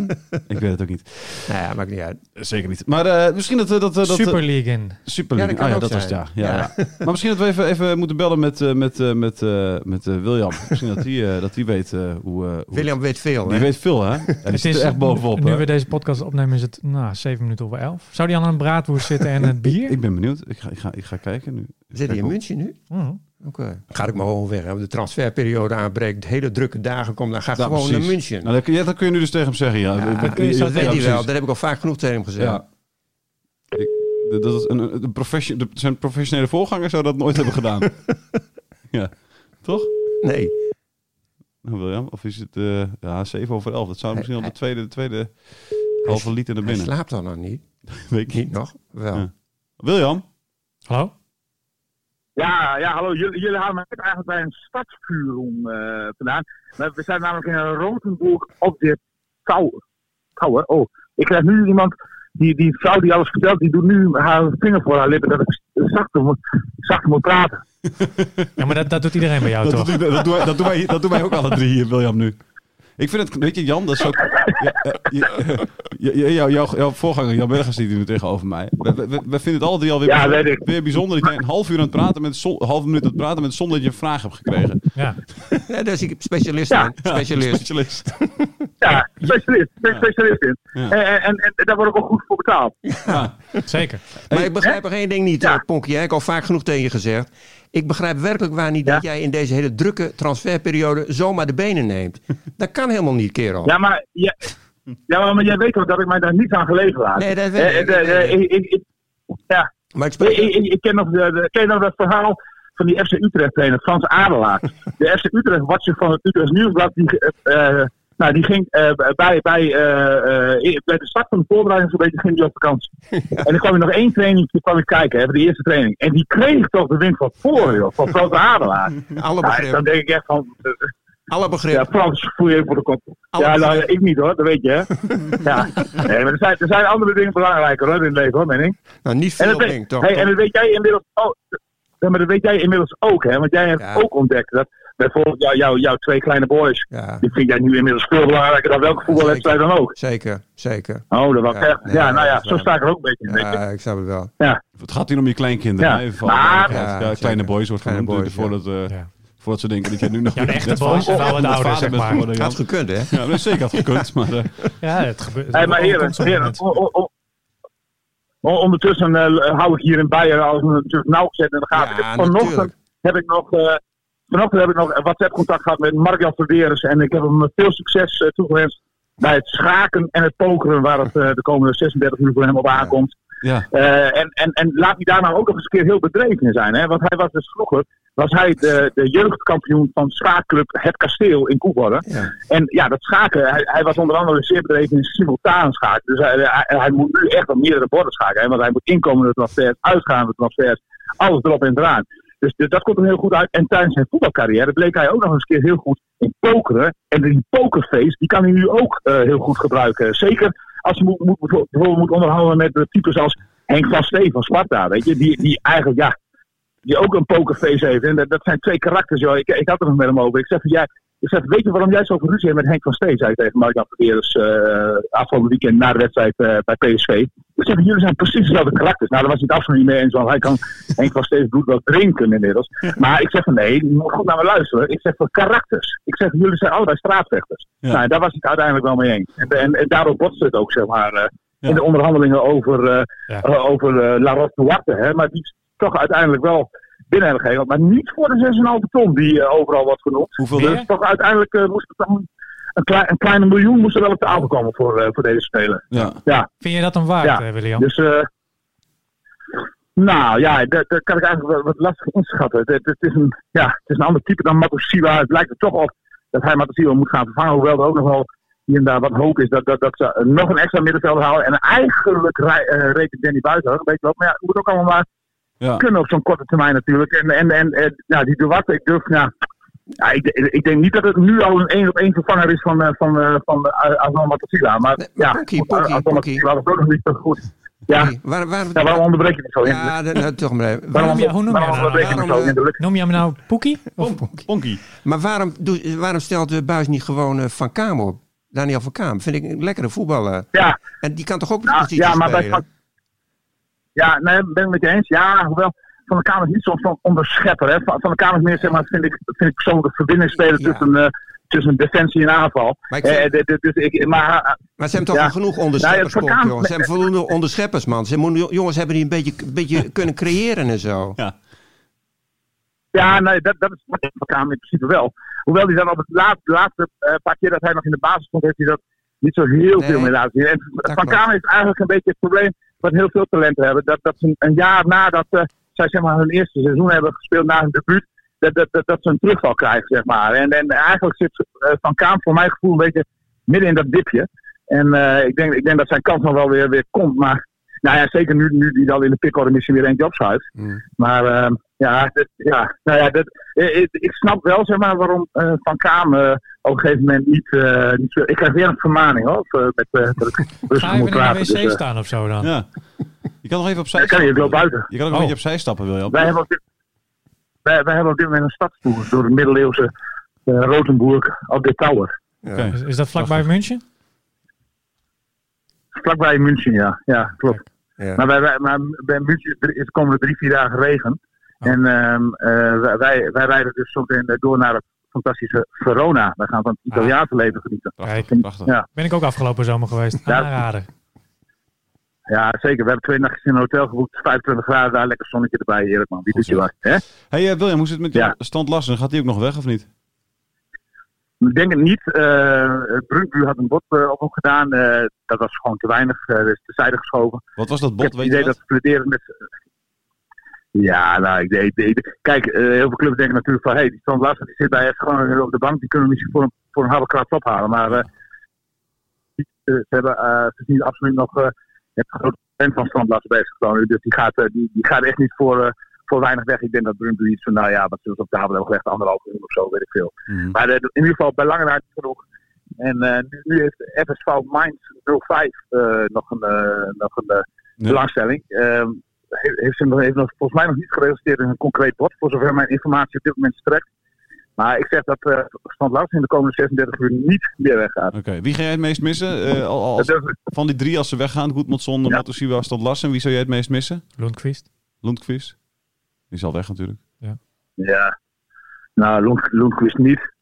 S2: Estrielen? ik weet het ook niet.
S4: Nou ja, maakt niet uit.
S2: Zeker niet. Maar eh, misschien dat... eh, dat, eh, dat eh,
S3: Superligen.
S2: Superliga.
S4: Ja, dat
S2: Ah,
S4: kan
S2: ja,
S4: ook
S2: dat was het,
S4: zijn.
S2: ja. Ja,
S4: Ja.
S2: ja. Maar misschien dat we even, even moeten bellen met, eh, met, eh, met, eh, met eh, William. Misschien dat hij eh, dat die weet eh, hoe... eh, hoe-
S4: William weet veel,
S2: Die
S4: hè?
S2: weet veel, hè? Ja, die
S3: Het
S2: zit
S3: is
S2: er echt bovenop.
S3: Nu
S2: hè?
S3: we deze podcast opnemen is het nou, 7 minuten over 11. Zou die aan een braadwoest zitten en het bier?
S2: Ik ben benieuwd. Ik ga, ik ga, ik ga kijken nu.
S4: Zit hij in München nu?
S3: Mm.
S4: Oké. Ga ik maar gewoon weg. hè. De transferperiode aanbreekt. Hele drukke dagen komen. Dan ga ik
S2: Ja,
S4: gewoon
S2: precies.
S4: naar München.
S2: Nou, dat, kun je, dat kun je nu dus tegen hem zeggen, ja.
S4: Ja,
S2: Ik- ik-
S3: kun je zo
S2: ja,
S4: dat weet hij
S2: precies.
S4: wel. Dat heb ik al vaak genoeg tegen hem gezegd.
S2: Ja. Ik, dat- dat is een, een profession, de- zijn professionele voorganger zou dat nooit hebben gedaan. ja, toch?
S4: Nee.
S2: Nou, William, of is het eh ja, 7 over 11? Dat zou
S4: Hij-
S2: misschien al de
S4: hij-
S2: tweede, de tweede halve liter naar
S4: Hij
S2: binnen.
S4: slaapt dan nog niet.
S2: Weet ik niet.
S4: Niet nog. Wel.
S2: Ja. William?
S3: Hallo?
S5: Ja, ja, hallo. Jullie, jullie halen mij net eigenlijk bij een stadsvuur om eh, vandaan. Maar we zijn namelijk in Rozenburg op de Kouwe. Kouwe? Oh, ik krijg nu iemand, die, die vrouw die alles vertelt, die doet nu haar vinger voor haar lippen dat ik zachter moet, zachter moet praten.
S3: Ja, maar dat, dat doet iedereen bij jou
S2: Dat,
S3: Oh,
S2: doe
S3: toch?
S2: ik- dat, doen wij, dat, doen wij, hier- dat doen wij ook alle drie hier, William, nu. Ik vind het, weet je, Jan, dat is ook. Ja, eh, je- je- je- jouw- jouw- jouw voorganger, Jan Bergers, zit hier nu tegenover mij. We, we- we- we vinden het alle drie alweer
S5: Ja,
S2: bijzonder,
S5: weet ik.
S2: weer bijzonder dat jij een half uur aan het praten met zon- een halve minuut aan het praten met zonder dat je een vraag hebt gekregen.
S3: Ja.
S4: Ja, daar is ik specialist
S5: Ja.
S4: aan. Specialist.
S2: Specialist.
S5: Ja, specialist. Ik ben specialist in.
S2: Ja.
S5: En, en, en, en daar word ik ook goed voor betaald.
S3: Zeker.
S4: Maar ik begrijp er één ding niet,
S5: Ja.
S4: eh, Ponkie. hè. Ik heb al vaak genoeg tegen je gezegd. Ik begrijp werkelijk waar niet
S5: Ja.
S4: dat jij in deze hele drukke transferperiode zomaar de benen neemt. Dat kan helemaal niet, kerel.
S5: Ja, maar, ja, ja, maar, maar jij weet wel dat ik mij daar niet aan gelegen laat.
S4: Nee, dat weet
S5: Eh,
S4: ik.
S5: eh, eh, ik- ik- ik- Ja,
S4: Maar ik spreek...
S5: ik, ik, ik- ik ken nog, de, de- ken je nog dat verhaal van die FC Utrecht trainer, Frans Adelaar. De FC Utrecht watcher van het Utrecht Nieuwsblad, die, eh, eh, nou, die ging eh, bij, bij, eh, eh, in- bij de start van de voorbereiding zo'n beetje ging die op vakantie. En dan kwam er nog één training kwam ik kijken, hè, voor de eerste training. En die kreeg toch de wind van voren, joh, van Frans Adelaar.
S4: Alle
S5: Nou, dan
S4: begrip.
S5: denk ik echt van, eh,
S4: Alle begrip.
S5: ja, Frans, voel je even voor de kop.
S4: Alle
S5: ja, nou,
S4: begrip.
S5: ik niet hoor, dat weet je hè. ja. Nee, maar er zijn, er zijn andere dingen belangrijker hoor in het leven hoor, meen ik.
S4: Nou, niet
S5: En
S4: veel
S5: dat, weet,
S4: ding, toch?
S5: hey, en dat weet jij inmiddels ook. Ja, maar dat weet jij inmiddels ook, hè? Want jij hebt
S4: Ja.
S5: ook ontdekt dat bijvoorbeeld jou, jou, jouw twee kleine boys.
S4: Ja,
S5: Die vind jij nu inmiddels veel belangrijker dan welke voetbalwedstrijd dan ook.
S4: zeker, zeker.
S5: Oh, dat was
S4: Ja,
S5: echt.
S4: nee,
S5: ja, nou
S4: dat
S5: ja,
S4: is
S5: zo
S4: waar.
S5: sta ik er ook een beetje in. weet je.
S4: Ja, ik snap het wel.
S2: Het gaat hier om je kleinkinderen.
S5: Ja.
S2: hè, Even van,
S5: Maar-
S2: ja,
S4: Ja,
S2: kleine
S4: zeker.
S2: boys wordt
S4: Kleine
S2: genoemd.
S4: boys,
S2: eh, voordat, eh,
S3: Ja.
S2: voordat ze denken dat je nu nog...
S3: Ja, de echte
S2: net
S3: boys
S2: vader-
S3: zijn wel wat
S2: net
S3: ouder,
S2: vader
S3: zeg
S2: bent
S3: maar.
S2: geworden, Jan.
S4: Had gekund, hè?
S2: Ja, dat is zeker had gekund. Maar eh,
S3: Ja, het gebeurt.
S5: Hey, maar
S3: het
S5: heren,
S3: komt soms
S5: heren,
S3: met-
S5: o- o- o- o- ondertussen eh, hou ik hier in Beieren als een natuurlijk nauwgezet in de
S4: Ja,
S5: gaten. Ik heb vanochtend
S4: natuurlijk.
S5: heb ik nog, eh, vanochtend heb ik nog een WhatsApp-contact gehad met Mark-Jan Verderens. En ik heb hem veel succes eh, toegewenst bij het schaken en het pokeren waar het eh, de komende 36 uur voor hem op aankomt.
S2: ja,
S5: Eh, en, en, en laat hij daar nou ook nog eens een keer heel bedreven in zijn. Hè? Want hij was dus vroeger was hij de, de jeugdkampioen van schaakclub Het Kasteel in Koevoorde.
S4: Ja.
S5: En ja, dat schaken, hij, hij was onder andere zeer bedreven in simultaan schaken. Dus hij, hij, hij moet nu echt op meerdere borden schaken. Hè? Want hij moet inkomende transfers, uitgaande transfers, alles erop en eraan. Dus, dus dat komt hem heel goed uit. En tijdens zijn voetbalcarrière bleek hij ook nog eens een keer heel goed in pokeren. En die pokerface, die kan hij nu ook eh, heel goed gebruiken. Zeker als hij moet, moet, bijvoorbeeld moet onderhandelen met eh, types als Henk van Stee van Sparta. Weet je, die, die eigenlijk, ja, die ook een pokerface heeft. En dat, dat zijn twee karakters, joh. Ik, ik had het nog met hem over. Ik zeg, van, jij, ik zeg weet je waarom jij zo'n ruzie hebt met Henk van Steen? Zei ik tegen Mark Jan Verderens eh afgelopen weekend na de wedstrijd eh, bij PSV. Ik zeg, jullie zijn precies dezelfde karakters. Nou, daar was hij het absoluut niet mee eens, want hij kan Henk van Steens bloed wel drinken inmiddels. Maar ik zeg van nee, je moet goed naar me luisteren. Ik zeg van karakters. Ik zeg, jullie zijn allebei straatvechters.
S2: Ja.
S5: Nou, daar was ik het uiteindelijk wel mee eens. En, en, en daardoor botste het ook, zeg maar, eh,
S2: Ja.
S5: in de onderhandelingen over, eh,
S3: Ja.
S5: eh, over eh, La Roche Duarte. Hè, maar die is toch uiteindelijk wel binnen hebben gegeven. Maar niet voor de 6,5 ton die eh, overal wordt genoemd.
S2: hoeveel
S3: Meer?
S2: dus?
S5: Dus toch uiteindelijk eh, moest het dan een, klei- een kleine miljoen moest er wel op tafel komen voor, eh, voor deze speler.
S2: Ja.
S5: Ja,
S3: Vind je dat dan waard,
S5: Ja.
S3: eh, William?
S5: dus... eh, nou ja, dat, dat kan ik eigenlijk wat, wat lastig inschatten. Het, het, is een, ja, het is een ander type dan Matosiwa. Het lijkt er toch op dat hij Matosiwa moet gaan vervangen. Hoewel er ook nog wel hier en daar wat hoop is dat, dat, dat ze nog een extra middenvelder houden. En eigenlijk rij- eh, rekent Danny Buiten ook een beetje op. Maar ja, het moet ook allemaal maar
S2: Ja.
S5: kunnen op zo'n korte termijn natuurlijk. En, en, en, eh, ja, die Duarte, ik durf, ja, ja, ik, ik denk niet dat het nu al een één op één vervanger is van, eh, van, eh, van eh, Azan Matasila. Maar
S4: Nee, maar
S5: ja,
S4: Ponkie,
S5: goed,
S4: Ponkie,
S5: Azan
S4: Ponkie.
S5: Matasila was ook nog niet zo goed. Ja,
S4: Hey, waar, waarom,
S5: ja waarom onderbreek je me zo?
S4: Ja, dat- nou, toch maar even.
S5: waarom,
S4: Waarom,
S3: ja, hoe noem je
S5: waarom
S3: dat?
S5: onderbreek je me
S4: Waarom,
S5: zo?
S4: eh,
S5: Inderdaad.
S3: Noem je hem nou Poekie? Of
S2: Ponkie.
S4: maar waarom, doe- waarom stelt de buis niet gewoon eh, Van Kaam op? Daniel van Kaam. Vind ik een lekkere voetballer.
S5: Ja,
S4: En die kan toch ook
S5: ja,
S4: positie
S5: ja, maar bij
S4: spelen?
S5: Van- Ja, nee, ben ik met je eens. Ja, hoewel Van de Kamer is niet zo'n zo'n onderschepper. Hè. Van, van de Kamer is meer, zeg maar, vind ik, vind ik persoonlijk een verbindingsspeler
S4: Ja.
S5: tussen, eh, tussen defensie en aanval.
S4: Maar ik
S5: Eh,
S4: vind-
S5: dit- dit- dit- ik- maar eh,
S4: Maar ze hebben toch
S5: Ja.
S4: al genoeg
S5: Nou ja,
S4: onderscheppers,
S5: Van
S4: Pop,
S5: Kaam-
S4: jongens. Ze hebben voldoende onderscheppers, man. Ze moeten, jongens hebben die een beetje, een beetje kunnen creëren en zo.
S2: Ja.
S5: Ja, nee, dat, dat is wat ik van Kamer in principe wel. Hoewel hij dan op het laatste, laatste eh, paar keer dat hij nog in de basis stond, heeft hij dat niet zo heel
S4: Nee,
S5: veel meer laten zien. En van
S4: klopt.
S5: Kamer is eigenlijk een beetje het probleem wat heel veel talenten hebben. Dat, dat ze een, een jaar nadat eh, zij zeg maar, hun eerste seizoen hebben gespeeld na hun debuut, dat, dat, dat, dat ze een terugval krijgen, zeg maar. En, en eigenlijk zit eh, Van Kamer voor mijn gevoel een beetje midden in dat dipje. En eh, ik, denk, ik denk dat zijn kans nog wel weer, weer komt. Maar nou ja, zeker nu, nu die dan in de pickorde misschien weer eentje opschuift.
S3: Mm.
S5: Maar ehm, ja, dit- ja, nou ja dit, eh, ik, ik snap wel zeg maar, waarom eh, Van Kaam eh, op een gegeven moment niet, eh, niet speelt. Ik krijg weer een vermaning hoor, of, eh, met, eh dat ik rustig
S3: Ga even
S5: moet
S3: in de
S5: praten.
S3: wc
S5: Dus, eh,
S3: staan of zo dan?
S2: Ja. Je kan nog even opzij
S5: ik
S2: stappen.
S5: kan hier, ik loop buiten.
S2: Je kan ook een
S3: Oh.
S2: beetje opzij stappen, William.
S5: Wij hebben op dit, wij, wij hebben op dit moment een stadsvoer door de middeleeuwse eh Rotenburg op de Tower.
S2: Oké.
S3: Is, is dat vlakbij München?
S5: Vlakbij München, ja. Ja, klopt.
S4: Ja.
S5: Maar, wij, wij, maar bij München is drie- is-
S2: Oh.
S5: komen er drie, vier dagen regen. En ehm, eh, wij- wij, wij rijden dus zometeen door naar het fantastische Verona. Wij gaan van het Italiaanse leven genieten.
S2: Ah. Prachtig,
S3: Kijk.
S2: prachtig.
S5: Ja.
S3: Ben ik ook afgelopen zomer geweest.
S5: Ja.
S3: Aanrader.
S5: Ja, zeker. We hebben twee nachtjes in een hotel geboekt. 25 graden, daar lekker zonnetje erbij. Heerlijk man. Wie doet je
S2: zo.
S5: wat? Hè?
S2: Hey eh, William, hoe zit het met
S5: Ja.
S2: jou? Stand Lassen? Gaat hij ook nog weg of niet?
S5: Ik denk het niet. Eh Brunkbu had een bod eh, op hem gedaan. Eh, dat was gewoon te weinig. eh dus tezijde geschoven.
S2: Wat was dat
S5: ik
S2: bot?
S5: heb het
S2: Weet je
S5: idee
S2: dat?
S5: dat ze flirteren met... Ja, nou, ik, ik, ik- kijk, eh, heel veel clubs denken natuurlijk van... Hé, hey, die Stan Larsen die zit bij echt gewoon op de bank. Die kunnen we misschien voor een, voor een harde klap ophalen. Maar eh, eh, ze, hebben, eh, ze zien absoluut nog... eh, je hebt een grote fan van Stan Larsen bezig gewoon. Dus die gaat, eh, die, die gaat echt niet voor, eh, voor weinig weg. Ik denk dat Brumby iets van... Nou ja, wat zullen ze op tafel hebben gelegd? Anderhalf miljoen of zo, weet ik veel.
S2: Mhm.
S5: Maar eh, in ieder geval bij lange na niet genoeg. En eh, nu, nu heeft FSV Mainz 05 eh, nog een, eh, nog een eh,
S2: Ja.
S5: belangstelling. Ehm, he- heeft, ze nog, heeft nog volgens mij nog niet geregistreerd in een concreet bod, voor zover mijn informatie op dit moment strekt. Maar ik zeg dat eh Stand Laus in de komende 36 uur niet meer weggaat.
S2: Oké, wie ga jij het meest missen? Eh, al- al- als-
S5: Dat durf-
S2: van die drie als ze weggaan, Goedmondson,
S5: Ja.
S2: Matusiwa, Stand Lassen, wie zou jij het meest missen?
S3: Lundqvist.
S2: Lundqvist? Die is al weg natuurlijk.
S5: ja. Nou, Lund- Lundqvist niet.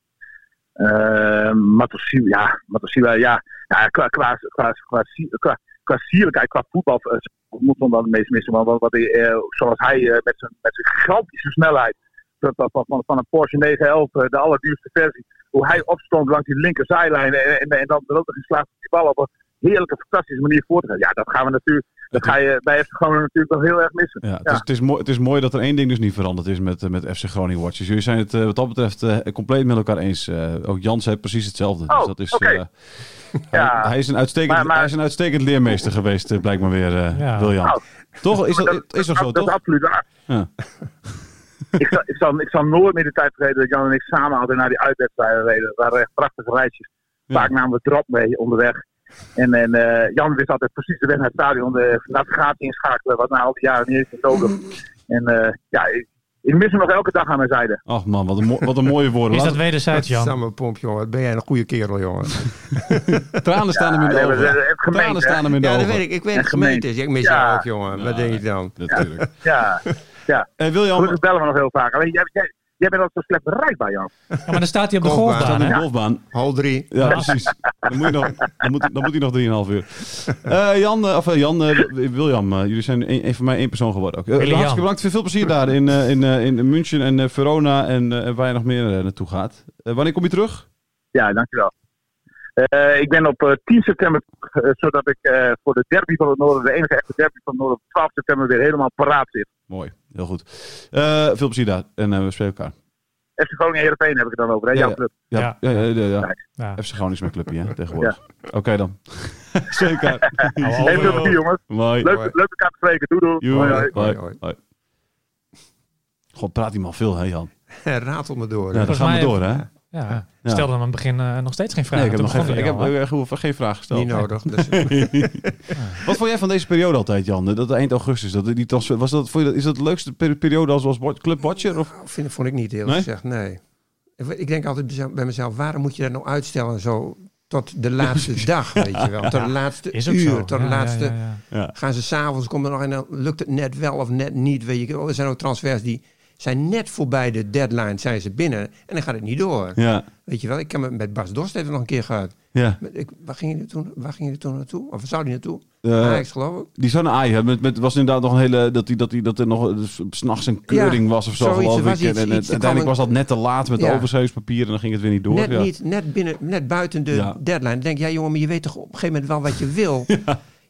S5: Ehm Matosiwa, ja. Matosiwa, ja. ja qua, qua, qua, qua, si- qua, qua sierlijkheid, qua voetbal, eh, moet dan wel het meest missen. Want wat, wat hij, eh, zoals hij eh, met zijn met zijn gigantische snelheid van, van, van, van een Porsche 911, eh, de allerduurste versie, hoe hij opstond langs die linker zijlijn en, en, en dan er ook nog in slaagt om die bal op een heerlijke, fantastische manier voor te gaan. Ja, dat gaan we natuurlijk, dat ga je bij FC Groningen natuurlijk wel heel erg missen.
S2: Ja, het, Is, het, is mooi, het is mooi dat er één ding dus niet veranderd is met, eh, met FC Groningen Watchers. Jullie zijn het eh, wat dat betreft eh, compleet met elkaar eens. Eh, ook Jan zei precies hetzelfde.
S5: Oh,
S2: dus dat is,
S5: oké.
S2: eh,
S5: Ja.
S2: hij, hij is een uitstekend,
S5: Maar- maar-
S2: hij is een uitstekend leermeester geweest, eh, blijkbaar weer, eh,
S3: Ja.
S2: William.
S5: Nou,
S2: toch? Is dat, is dat zo,
S5: Dat is
S2: toch?
S5: absoluut waar.
S2: Ja.
S5: ik, zal, ik, zal, ik zal nooit meer de tijd vergeten dat Jan en ik samen altijd naar die uitwedstrijden reden. Dat waren echt prachtige reisjes.
S2: Ja.
S5: Vaak namen we drop mee onderweg. En, en eh, Jan wist altijd precies de weg naar het stadion. De navigatie inschakelen, wat na al die jaren niet eens meer nodig. En eh, ja, ik, ik mis hem nog elke dag aan mijn zijde.
S2: Ach man, wat een, mo- wat een mooie woorden.
S3: Is dat
S2: Laat-
S3: wederzijds, Jan?
S4: Samen pomp, jongen. Wat ben jij een goede kerel, jongen.
S2: tranen staan hem in de
S5: Ja, nee, maar
S2: ogen.
S5: het- het gemeen,
S2: Tranen
S5: hè?
S2: staan hem in de
S4: Ja, dat
S2: ogen.
S4: weet ik. Ik weet het
S5: Echt gemeen.
S4: gemeente is. Ik mis
S5: Ja.
S4: jou ook, jongen. Wat denk je dan?
S2: Natuurlijk.
S5: Ja,
S2: Eh, William,
S5: gelukkig bellen we nog heel vaak. Alleen jij, jij, jij bent altijd zo slecht bereikbaar, Jan.
S3: Ja, maar dan staat hij op de
S4: Kom, maar.
S3: golfbaan,
S2: aan de
S3: hè?
S2: golfbaan.
S4: Hal 3.
S2: Ja, precies. Dan moet, je nog, dan moet, dan moet hij nog 3,5 uur. Eh, Jan, eh, of eh, Jan, eh, Wil- William, eh, jullie zijn een, een van mij één persoon geworden ook. Eh,
S3: William.
S2: hartstikke bedankt. Veel plezier daar in, eh, in, eh, in München en eh, Verona en eh, en waar je nog meer eh, naartoe gaat. Eh, wanneer kom je terug?
S5: Ja, dankjewel. Eh, ik ben op eh, 10 september, eh, zodat ik eh, voor de derby van het Noorden, de enige echte derby van het Noorden, op 12 september weer helemaal paraat zit.
S2: Mooi, heel goed. Eh, veel plezier daar en eh, we spelen elkaar.
S5: FC Groningen Heerenveen heb ik het dan over, hè?
S2: Ja,
S5: Jouw
S2: ja.
S5: club.
S2: Ja, ja, ja. ja, ja,
S3: Ja.
S2: FC Groningen is mijn clubje, hè, tegenwoordig. Oké dan. Spelen elkaar.
S5: Heel veel plezier, jongens.
S2: Mooi.
S5: Leuk, leuk elkaar te spreken. Doei, doei.
S2: Joe.
S5: Hoi, hoi.
S2: Hoi,
S4: Hoi,
S2: hoi. God, praat die man veel, hè Jan?
S4: Ratel me door.
S2: Ja, dan
S3: Volgens
S2: gaan we
S3: mij-
S2: door, hè?
S3: Ja.
S2: Ja.
S3: Stelde hem aan het begin eh, nog steeds geen vraag.
S2: Nee, ik heb
S3: Toen
S2: nog geen,
S3: begon
S2: ik
S3: hij
S2: heb
S3: al, hè?
S2: eh, gewoon geen vraag gesteld.
S4: Niet nodig. Dus,
S2: Wat vond jij van deze periode altijd, Jan? Dat eind augustus, dat die transfer, was dat, vond je dat, is dat de leukste peri- periode als, als bo- clubwatcher? Of?
S4: Nou, vind, vond ik niet heel
S2: Nee?
S4: gezegd. Nee. Ik- Ik denk altijd bij mezelf- bij mezelf, waarom moet je dat nou uitstellen zo tot de laatste dag, weet je wel? Tot de laatste
S3: Is ook
S4: uur,
S3: zo.
S4: tot de
S3: Ja, ja,
S4: laatste...
S3: ja, ja.
S4: Gaan ze s'avonds, komt er nog en dan lukt het net wel of net niet. Weet je. oh, Er zijn ook transfers die zijn net voorbij de deadline, zijn ze binnen. En dan gaat het niet door.
S2: Ja,
S4: Weet je wel, ik heb het met Bas Dorst even nog een keer gehad.
S2: ja.
S4: Met- Ik, waar gingen jullie toen, waar gingen jullie toen naartoe? Of waar zou die naartoe?
S2: Eh,
S4: Ajax geloof ik.
S2: Die zou naar Ajax hebben. Met, met, was inderdaad nog een hele. Dat, die, dat, die, dat er nog eh, s- s'nachts een keuring
S4: Ja,
S2: was of zo,
S4: zoiets,
S2: geloof
S4: er was
S2: ik. En-
S4: iets-
S2: en,
S4: iets,
S2: het-
S4: er
S2: uiteindelijk
S4: kwam
S2: was
S4: een-
S2: dat net te laat met de
S4: Ja.
S2: overzeespapier en dan ging het weer niet door.
S4: Net
S2: ja.
S4: niet, net, binnen, net buiten de
S2: Ja.
S4: deadline. Dan denk je, ja jongen, maar je weet toch op een gegeven moment wel wat je wil.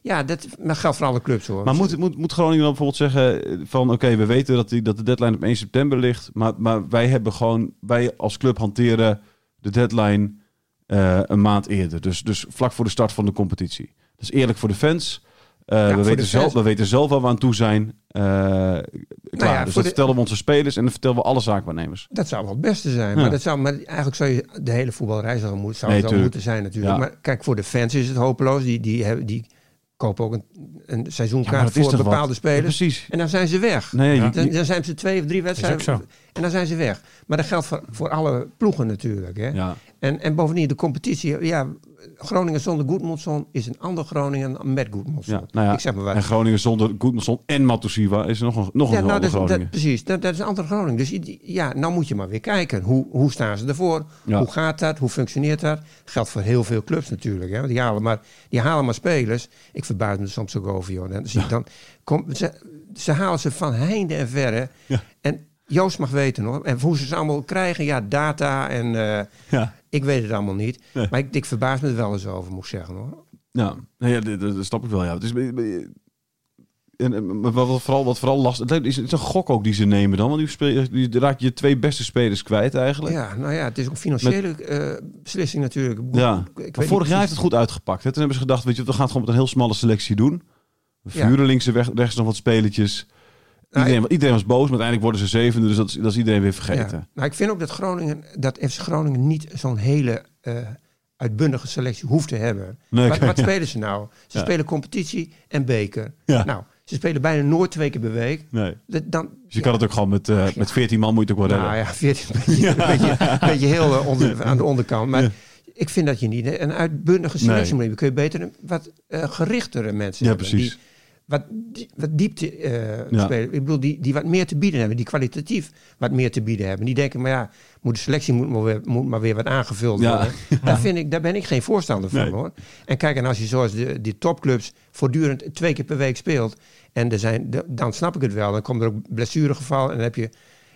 S4: ja. dat, dat geldt voor alle clubs hoor.
S2: Maar moet, moet, moet Groningen dan bijvoorbeeld zeggen eh, van oké, we weten dat, die, dat de deadline op 1 september ligt, maar, maar wij hebben gewoon, wij als club hanteren de deadline eh, een maand eerder. Dus, dus vlak voor de start van de competitie. Dat is eerlijk voor de fans. Eh, we,
S4: voor de
S2: weten zelf,
S4: fans. Nou
S2: we weten zelf waar we aan toe zijn. Eh, klaar.
S4: ja,
S2: dus
S4: voor
S2: dat
S4: de-
S2: vertellen we onze spelers en dat vertellen we alle zaakwaarnemers.
S4: Dat zou wel het beste zijn.
S2: Ja.
S4: Maar, dat zou, maar eigenlijk zou je de hele voetbalreis al moet, zou
S2: Nee,
S4: zo
S2: tuurlijk.
S4: moeten zijn natuurlijk.
S2: Ja.
S4: Maar kijk, voor de fans is het hopeloos. Die, die, hebben, die kopen ook een, een
S2: Ja, maar
S4: seizoenkaart
S2: dat is
S4: voor
S2: toch wat?
S4: bepaalde
S2: Ja,
S4: spelers.
S2: precies.
S4: en dan zijn ze weg.
S2: Nee, je-
S4: Dan, dan zijn ze twee of drie wedstrijden.
S3: ook zo.
S4: En dan zijn ze weg. Maar dat geldt voor, voor alle ploegen natuurlijk. Hè?
S2: Ja.
S4: En En, en bovendien, de competitie. Ja, Groningen zonder Goedmondson is een ander Groningen met Goedmondson.
S2: Ja, nou ja,
S4: Ik zeg maar wat.
S2: En Groningen zonder Goedmanson en Matusiwa is nog een, nog een
S4: Ja, nou,
S2: ander
S4: dat, is-
S2: Groningen.
S4: dat- precies. Dat, dat is een ander Groningen. Dus i- ja, nou moet je maar weer kijken. Hoe, hoe staan ze ervoor?
S2: Ja.
S4: Hoe gaat dat? Hoe functioneert dat? Geldt voor heel veel clubs natuurlijk. Hè? Want die halen, maar, die halen maar spelers. Ik verbaas me soms ook over, joh. En Dan zie ik dan, kom, ze, ze halen ze van heinde en verre.
S2: Ja.
S4: En Joost mag weten hoor. En hoe ze ze allemaal krijgen. Ja, data en... eh,
S2: Ja.
S4: ik weet het allemaal niet.
S2: Nee.
S4: Maar ik, ik verbaas me er wel eens over, moet ik zeggen hoor.
S2: Ja, nou ja dat, dat- dat snap ik wel. Ja. Het is, en, en- maar wat, wat vooral, wat vooral lastig het is, het is een gok ook die ze nemen dan. Want die, speel, die raak je twee beste spelers kwijt eigenlijk. Ja.
S4: Ja, nou ja, het is ook een financiële eh, beslissing natuurlijk. Ik weet
S2: Maar
S4: niet
S2: vorig jaar heeft
S4: precies-
S2: het goed uitgepakt. Hè? Toen hebben ze gedacht, weet je, we gaan het gewoon met een heel smalle selectie doen. We
S4: Ja.
S2: vuren links en weg- rechts nog wat spelletjes. Iedereen, iedereen was boos, maar uiteindelijk worden ze zevende. Dus dat is, dat is iedereen weer vergeten.
S4: Ja. Maar ik vind ook dat Groningen, dat FC Groningen niet zo'n hele eh, uitbundige selectie hoeft te hebben.
S2: Nee,
S4: wat
S2: kijk,
S4: wat
S2: ja.
S4: spelen ze nou? Ze
S2: Ja.
S4: spelen competitie en beker.
S2: Ja.
S4: Nou, ze spelen bijna nooit twee keer per week.
S2: Nee.
S4: Dat- Dan,
S2: Dus je kan het ook gewoon met, eh, met 14 man moet je het ook wel
S4: nou
S2: redden.
S4: ja, 14, een beetje, een beetje, een beetje heel eh, onder- aan de onderkant. Maar ik vind dat je niet een uitbundige selectie
S2: Nee.
S4: moet hebben. Kun je beter een, wat eh, gerichtere mensen
S2: Ja,
S4: hebben.
S2: precies.
S4: Die wat, die- wat diepte eh,
S2: Ja.
S4: spelen. Ik bedoel, die, die wat meer te bieden hebben. Die kwalitatief wat meer te bieden hebben. Die denken, maar ja, moet de selectie moet maar weer, moet maar weer wat aangevuld
S2: Ja.
S4: worden. Daar, vind ik, daar ben ik geen voorstander van
S2: Nee.
S4: hoor. En kijk, en als je zoals de, die topclubs voortdurend twee keer per week speelt. En er zijn, de- dan snap ik het wel. Dan komen er ook blessuregevallen. En dan heb je,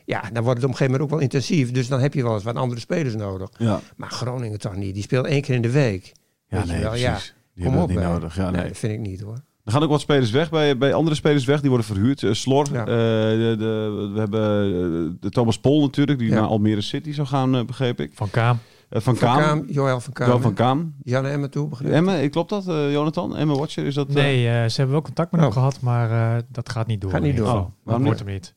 S4: ja, dan wordt het op een gegeven moment ook wel intensief. Dus dan heb je wel eens wat andere spelers nodig.
S2: Ja.
S4: Maar Groningen toch niet. Die speelt één keer in de week.
S2: Ja,
S4: Weet je
S2: nee,
S4: wel,
S2: precies. Die
S4: Kom
S2: hebben
S4: op,
S2: dat niet
S4: hè.
S2: nodig. Ja, nee.
S4: dat vind ik niet hoor.
S2: Er gaan ook wat spelers weg, bij, bij andere spelers weg, die worden verhuurd. Eh, Slor,
S4: Ja.
S2: eh, de, de- we hebben eh, de Thomas Pol natuurlijk, die
S4: Ja.
S2: naar Almere City zou gaan, eh, begreep ik.
S3: Van Kaam.
S2: Eh, van,
S4: Van
S2: Kaam,
S4: Kaam, Joël van Kaam.
S2: Johan van Kaam.
S4: Jan Emmen toe, begrepen.
S2: Emme, eh, klopt dat, eh, Jonathan? Emme Watcher, is dat... eh,
S3: Nee, eh, ze hebben wel contact met hem
S4: Oh.
S3: gehad, maar eh, dat gaat niet door.
S4: Gaat niet
S3: in ieder
S4: door.
S3: geval.
S2: Oh,
S3: dat
S2: waarom
S3: wordt hem niet.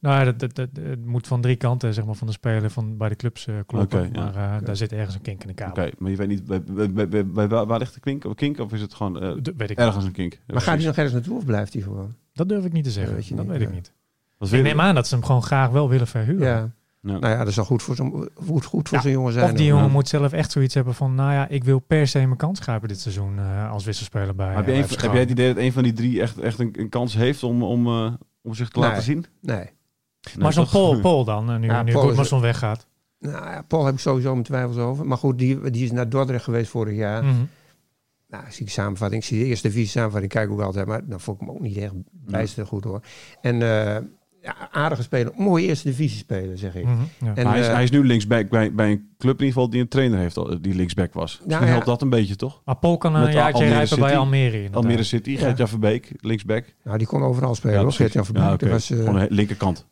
S3: Nou, ja, dat, dat, dat, het moet van drie kanten, zeg maar, van de speler van, bij de clubs eh, kloppen.
S2: Oké, ja.
S3: Maar eh, daar zit ergens een kink in de kabel.
S2: Oké, maar je weet niet, bij, bij, bij- bij- bij- waar, waar ligt de kink? Of kink? Of is het gewoon eh,
S3: Dat weet ik
S2: ergens een kink? Ja,
S4: Maar gaat
S2: precies.
S4: hij nog ergens naartoe of blijft hij gewoon?
S3: Dat durf ik niet te zeggen.
S4: Dat weet je
S3: dat
S4: niet,
S3: weet ik
S4: ja.
S3: niet.
S2: Wat
S3: Ik
S2: wil je?
S3: neem aan dat ze hem gewoon graag wel willen verhuren.
S4: Ja.
S2: Ja.
S4: Nou ja, dat is al goed voor zo'n goed, goed voor
S3: Ja,
S4: zo'n jongen zijn.
S3: Of die
S4: hoor.
S3: jongen
S2: Ja.
S3: moet zelf echt zoiets hebben van, nou ja, ik wil per se mijn kans grijpen dit seizoen eh, als wisselspeler bij.
S2: Maar heb, je
S3: eh,
S2: een-
S3: bij
S2: heb jij het
S3: Verschouwen.
S2: idee dat een van die drie echt, echt een, een kans heeft om, om, eh, om zich te
S4: Nee.
S2: laten zien?
S4: Nee.
S3: Maar zo'n Paul,
S2: pol.
S3: Paul dan, eh, nu,
S4: Ja,
S3: nu
S4: Paul is-
S3: Goedmanson weggaat.
S4: Nou ja, Paul heb ik sowieso mijn twijfels over. Maar goed, die, die is naar Dordrecht geweest vorig
S2: Hm.
S4: jaar.
S3: Mhm.
S4: Nou, ik zie die samenvatting. Ik zie de eerste divisie samenvatting. Kijk ook altijd. Maar dan vond ik hem ook niet echt bijster goed hoor. En eh, ja, aardige speler. Mooie eerste divisie speler, zeg ik.
S3: Mhm, ja.
S4: En,
S2: Hm. Maar hij, is,
S4: eh,
S2: hij is nu linksback bij, bij een club in ieder geval die een trainer heeft al- die linksback was. Dus
S4: Ja,
S2: die
S4: ja.
S2: helpt dat een beetje toch?
S3: Maar Paul kan een
S2: Met
S3: jaartje
S2: Almere
S3: rijpen bij
S2: City.
S3: Almere. inderdaad.
S2: Almere City, Gert-Jan Verbeek, linksback.
S4: Nou, die kon overal spelen hoor.
S2: precies.
S4: Gert-Jan
S2: Ja,
S4: Verbeek.
S2: oké.
S4: Dat was, eh,
S2: Gewoon de he- linkerkant.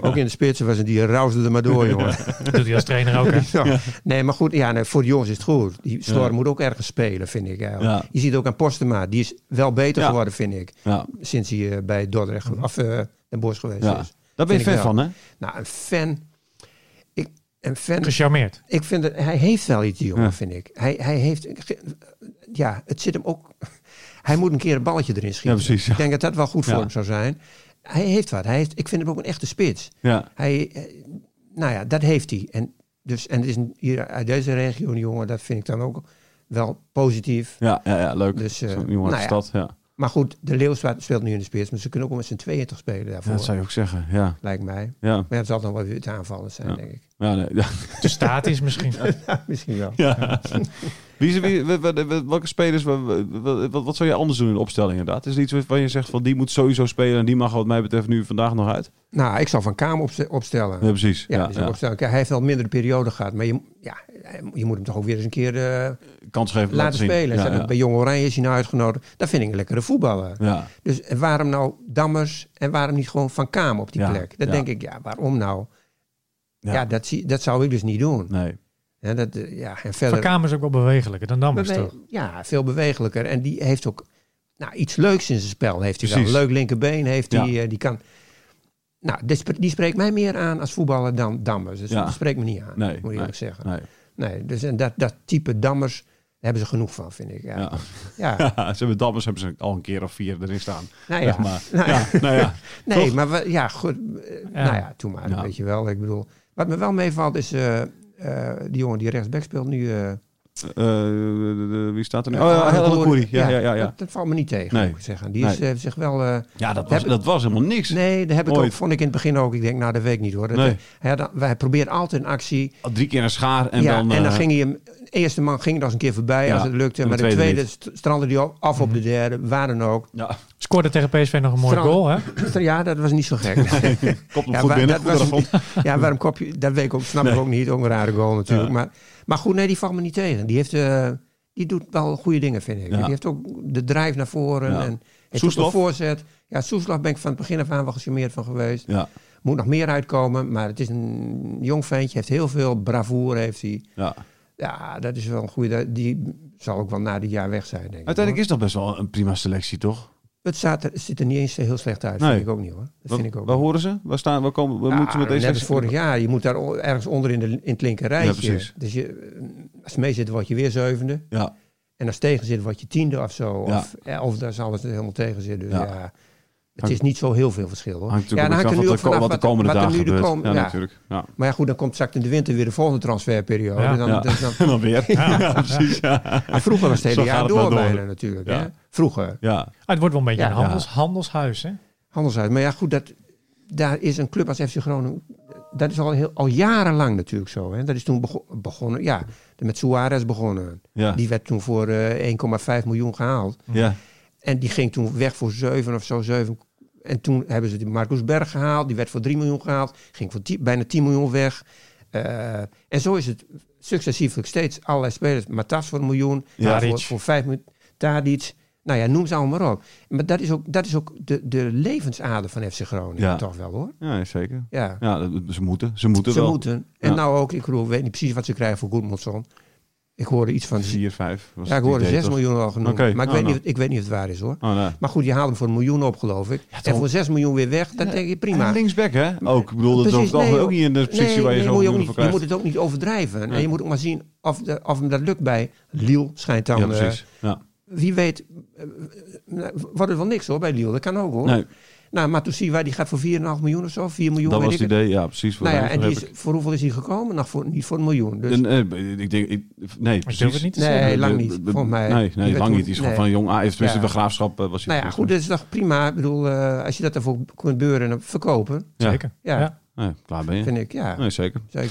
S4: Ook in de spitsen was het. Die rausde er maar door, jongen.
S3: Dat doet hij als trainer ook. hè.
S4: Ja. Nee, maar goed, ja, nee, voor de jongens is het goed. Die Slor
S2: Ja.
S4: moet ook ergens spelen, vind ik. eigenlijk.
S2: Ja.
S4: Je ziet ook aan Postema, die is wel beter
S2: Ja.
S4: geworden, vind ik.
S2: Ja.
S4: Sinds hij eh, bij Dordrecht ge- of eh Den Bosch geweest
S2: Mhm. Ja.
S4: is.
S2: Daar ben je
S4: Vind ik
S2: fan
S4: wel.
S2: van, hè?
S4: Nou, een fan. Ik, een fan
S3: Gecharmeerd.
S4: ik vind dat hij heeft wel iets, die jongen,
S2: Ja.
S4: vind ik. Hij, hij heeft. Ja, het zit hem ook. Hij moet een keer een balletje erin schieten.
S2: Ja, precies, ja.
S4: Ik denk dat dat wel goed voor
S2: Ja.
S4: hem zou zijn. Hij heeft wat. Hij heeft, ik vind hem ook een echte spits.
S2: Ja.
S4: Hij, eh, nou ja, dat heeft hij. En, dus, en het is een- hier uit deze regio een jongen, dat vind ik dan ook wel positief.
S2: Ja, ja, ja, leuk.
S4: Dus,
S2: Dus,
S4: eh,
S2: jongen uit
S4: nou ja.
S2: de stad. Ja.
S4: Maar goed, de Leeuwswaard speelt nu in de spits, maar ze kunnen ook wel met z'n 22 spelen
S2: Ja,
S4: daarvoor,
S2: dat zou je ook zeggen. Ja,
S4: lijkt mij.
S2: ja.
S4: Maar het zal dan wel weer het aanvallen zijn,
S2: Ja.
S4: denk ik.
S2: ja, nee, ja.
S3: Te statisch misschien.
S4: Misschien wel.
S2: ja. Wie is, wie, wat- wat- wat- welke spelers, wat, wat, wat- wat zou je anders doen in de opstelling inderdaad? Is er iets waarvan je zegt van die moet sowieso spelen en die mag wat mij betreft nu vandaag nog uit?
S4: Nou, ik zal Van Kaam opste- opstellen.
S2: Ja, precies.
S4: Ja,
S2: Ja,
S4: dus
S2: ja.
S4: opstellen. Kijk, hij heeft wel een mindere periode gehad, maar je, ja, je moet hem toch ook weer eens een keer eh,
S2: Kans geven,
S4: laten
S2: zien.
S4: spelen.
S2: Ja,
S4: Zijn ook
S2: ja.
S4: Bij Jong Oranje is hij nou uitgenodigd. Dat vind ik een lekkere voetballer.
S2: Ja.
S4: Dus en waarom nou Dammers en waarom niet gewoon Van Kaam op die
S2: Ja,
S4: plek? Dat
S2: ja.
S4: denk ik, ja, waarom nou?
S2: Ja.
S4: Ja, dat, zie, dat zou ik dus niet doen.
S2: Nee.
S4: Ja, dat, eh, ja, en
S3: Van
S4: verder...
S3: Kamer is ook wel bewegelijker dan Dammers
S4: bewe-
S3: toch?
S4: ja, veel bewegelijker. En die heeft ook nou, iets leuks in zijn spel. Heeft hij
S2: Precies.
S4: wel. Leuk linkerbeen heeft hij.
S2: Ja.
S4: eh, die kan... Nou, dit spre- die spreekt mij meer aan als voetballer dan Dammers. Dus
S2: Ja.
S4: dat spreekt me niet aan,
S2: Nee,
S4: moet ik
S2: nee,
S4: eerlijk zeggen.
S2: Nee.
S4: Nee, dus en dat, dat type dammers daar hebben ze genoeg van, vind ik. Ja,
S2: Ja.
S4: ja.
S2: ze hebben Dammers hebben ze al een keer of vier erin staan.
S4: nou ja.
S2: Zeg maar.
S4: Nou ja.
S2: ja, nou ja.
S4: nee,
S2: toch?
S4: maar we, ja, goed. eh, Nou ja, toen maar,
S2: Ja.
S4: weet je wel. Ik bedoel, wat me wel meevalt is eh, eh, eh, die jongen die rechtsback speelt nu. eh,
S2: Eh, de- de- wie staat er nu?
S4: eh,
S2: Oh, ja,
S4: Arne
S2: Helder
S4: Koeri.
S2: Koeri. Ja, ja, ja. Ja,
S4: Dat, dat valt me niet tegen,
S2: Nee.
S4: moet ik zeggen. Die is,
S2: Nee.
S4: heeft zich wel... eh,
S2: ja dat, was,
S4: Heb-
S2: dat was helemaal niks.
S4: nee, dat heb ik
S2: Ooit.
S4: ook, vond ik in het begin ook. Ik denk, nou, dat weet ik niet hoor. Dat,
S2: Nee.
S4: hij, had- hij probeert altijd een actie.
S2: Al Drie keer een schaar en
S4: En, ja,
S2: dan...
S4: dan, en dan
S2: eh,
S4: ging hij hem... De eerste man ging er als een keer voorbij
S2: Ja,
S4: als het lukte.
S2: en de
S4: Maar de
S2: tweede
S4: tweede,
S2: niet. Mhm.
S4: st- strandde hij ook af op de derde. Waar dan ook.
S2: Ja,
S3: Scoorde tegen PSV nog een mooie
S4: Strand.
S3: goal, hè? Ah,
S4: Ja, dat was niet zo gek.
S2: kopt hem
S4: Ja,
S2: goed
S4: waar-
S2: binnen.
S4: dat
S2: Goed
S4: was-
S2: afstand.
S4: Ja, waarom kop je... Dat weet ik ook, snap
S2: Nee.
S4: ik ook niet. Ook een rare goal natuurlijk.
S2: Ja.
S4: Maar, maar goed, nee, die valt me niet tegen. Die, heeft, eh, die doet wel goede dingen, vind ik.
S2: Ja.
S4: Die heeft ook de drijf naar voren.
S2: Ja.
S4: En heeft ook een
S2: Soeslof?
S4: voorzet. Ja, Soeslof ben ik van het begin af aan wel gecharmeerd van geweest.
S2: Ja,
S4: Moet nog meer uitkomen, maar het is een jong ventje. Heeft heel veel bravoure, heeft hij.
S2: ja.
S4: Ja, dat is wel een goede... Die zal ook wel na dit jaar weg zijn, denk ik.
S2: Uiteindelijk is dat best wel een prima selectie, toch?
S4: Het staat er, het ziet er niet eens heel slecht uit,
S2: Nee.
S4: vind ik ook niet hoor. Dat
S2: Waar,
S4: vind ik ook
S2: waar
S4: niet.
S2: horen ze? Waar, staan, waar komen, waar
S4: Ja,
S2: moeten we met deze
S4: net als
S2: selectie-
S4: vorig jaar. Je moet daar o- ergens onder in, de, in het linker rijtje.
S2: Ja, precies.
S4: dus je, als het mee zit, word je weer zevende.
S2: Ja,
S4: En als het tegen zit, word je tiende of zo.
S2: Ja.
S4: Of, eh, of daar zal het helemaal tegen zitten. Dus
S2: Ja.
S4: ja. het is niet zo heel veel verschil. Hoor.
S2: hangt
S4: ja,
S2: natuurlijk ook af wat, de
S4: hangt
S2: ko-
S4: vanaf
S2: wat de komende
S4: wat er
S2: dagen
S4: nu de
S2: gebeurt.
S4: kom-
S2: ja,
S4: ja.
S2: natuurlijk. Ja.
S4: Maar ja, goed, dan komt straks in de winter weer de volgende transferperiode.
S3: Ja.
S4: Dan,
S2: Ja.
S4: dus dan-
S2: En dan weer. Ja, precies. Ja.
S4: Ah, vroeger was het
S2: Zo gaat
S4: hele jaar
S2: het maar
S4: door,
S2: door.
S4: bijna natuurlijk.
S2: Ja.
S4: Hè? Vroeger,
S2: ja.
S3: Ah, het wordt wel een beetje
S4: Ja.
S3: een handels, handelshuis, hè?
S4: handelshuis. Maar ja, goed, dat, daar is een club als FC Groningen... Dat is al, heel, al jarenlang natuurlijk zo. Hè? Dat is toen bego- begonnen, ja, met Suarez begonnen.
S2: Ja.
S4: Die werd toen voor eh, 1,5 miljoen gehaald.
S2: Ja.
S4: En die ging toen weg voor 7 of zo. 7. En toen hebben ze die Marcus Berg gehaald. Die werd voor 3 miljoen gehaald. Ging voor 10 bijna 10 miljoen weg. Eh, en zo is het successievelijk steeds allerlei spelers. Matas voor een miljoen.
S2: Ja.
S4: voor,
S3: Tadic.
S4: voor 5 miljoen. Tadic. Nou ja, noem ze allemaal maar op. Maar dat is ook, dat is ook de, de levensader van FC Groningen.
S2: Ja.
S4: Toch wel hoor.
S2: Ja, zeker.
S4: Ja.
S2: Ja, dat- ze moeten. Ze moeten
S4: ze
S2: wel.
S4: moeten. En
S2: Ja.
S4: nou ook, ik bedoel, ik weet niet precies wat ze krijgen voor Goedmondson. Ik hoorde iets van
S2: 4, 5.
S4: ja, ik hoorde 6 miljoen al genoemd.
S2: Oké,
S4: Maar ik,
S2: nou,
S4: weet
S2: nou.
S4: Niet, ik weet niet of het waar is hoor.
S2: Oh, nee.
S4: Maar goed, je haalt hem voor een miljoen op, geloof ik. en voor 6 miljoen weer weg, dan denk je prima.
S2: En linksback, hè? Ook. Ik bedoel, dat is
S4: Precies,
S2: ook,
S4: nee,
S2: ook niet in de positie
S4: nee,
S2: waar je
S4: nee,
S2: zo
S4: moet je,
S2: miljoen
S4: ook
S2: voor
S4: niet, je
S2: krijgt.
S4: moet het ook niet overdrijven. En je moet ook maar zien of, de, of hem dat lukt bij Liel, schijnt dan.
S2: Ja,
S4: eh,
S2: precies. Ja.
S4: wie weet, eh, nou, wordt het wel niks hoor bij Liel. Dat kan ook hoor.
S2: Nee,
S4: Nou, Matusiwa die gaat voor 4,5 miljoen of zo, 4 miljoen.
S2: dat
S4: weet
S2: was het
S4: ik het.
S2: idee. Ja, precies. Voor
S4: Nou ja,
S2: mij
S4: en die
S2: heb
S4: is, voor hoeveel is hij gekomen? Nou, voor, niet voor een miljoen. Dus,
S2: ik- En, eh, ik denk, ik, nee,
S3: Maar ik
S2: precies.
S3: durf het niet te
S4: Nee.
S3: zeggen.
S4: lang
S2: De-
S4: niet,
S2: de-
S4: volgens mij.
S2: Nee,
S4: Die
S2: nee
S4: werd
S2: lang
S4: toen-
S2: niet. Die is gewoon
S4: nee.
S2: van jong A. Tenminste,
S4: Ja.
S2: de graafschap eh, was hij.
S4: nou ja, goed, dat is toch prima. Ik bedoel, eh, als je dat ervoor kunt beuren en verkopen,
S2: Ja.
S3: Zeker.
S4: Ja.
S3: Ja.
S2: Nee, klaar ben je.
S4: vind ik, ja,
S2: Nee, zeker.
S4: zeker.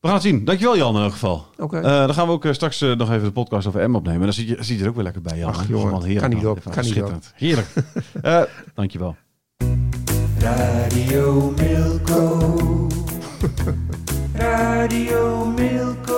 S2: We gaan het zien. Dankjewel, Jan, in elk geval.
S4: Oké.
S2: Eh, dan gaan we ook eh, straks eh, nog even de podcast over M opnemen. Dan zit je, zit je er ook weer lekker bij, Jan.
S4: Ach,
S2: hè?
S4: jongen,
S2: Gewoon heerlijk,
S4: kan niet
S2: man.
S4: op,
S2: Even
S4: kan niet op.
S2: schitterend. Heerlijk. Eh dankjewel.
S1: Radio Milko. Radio Milko.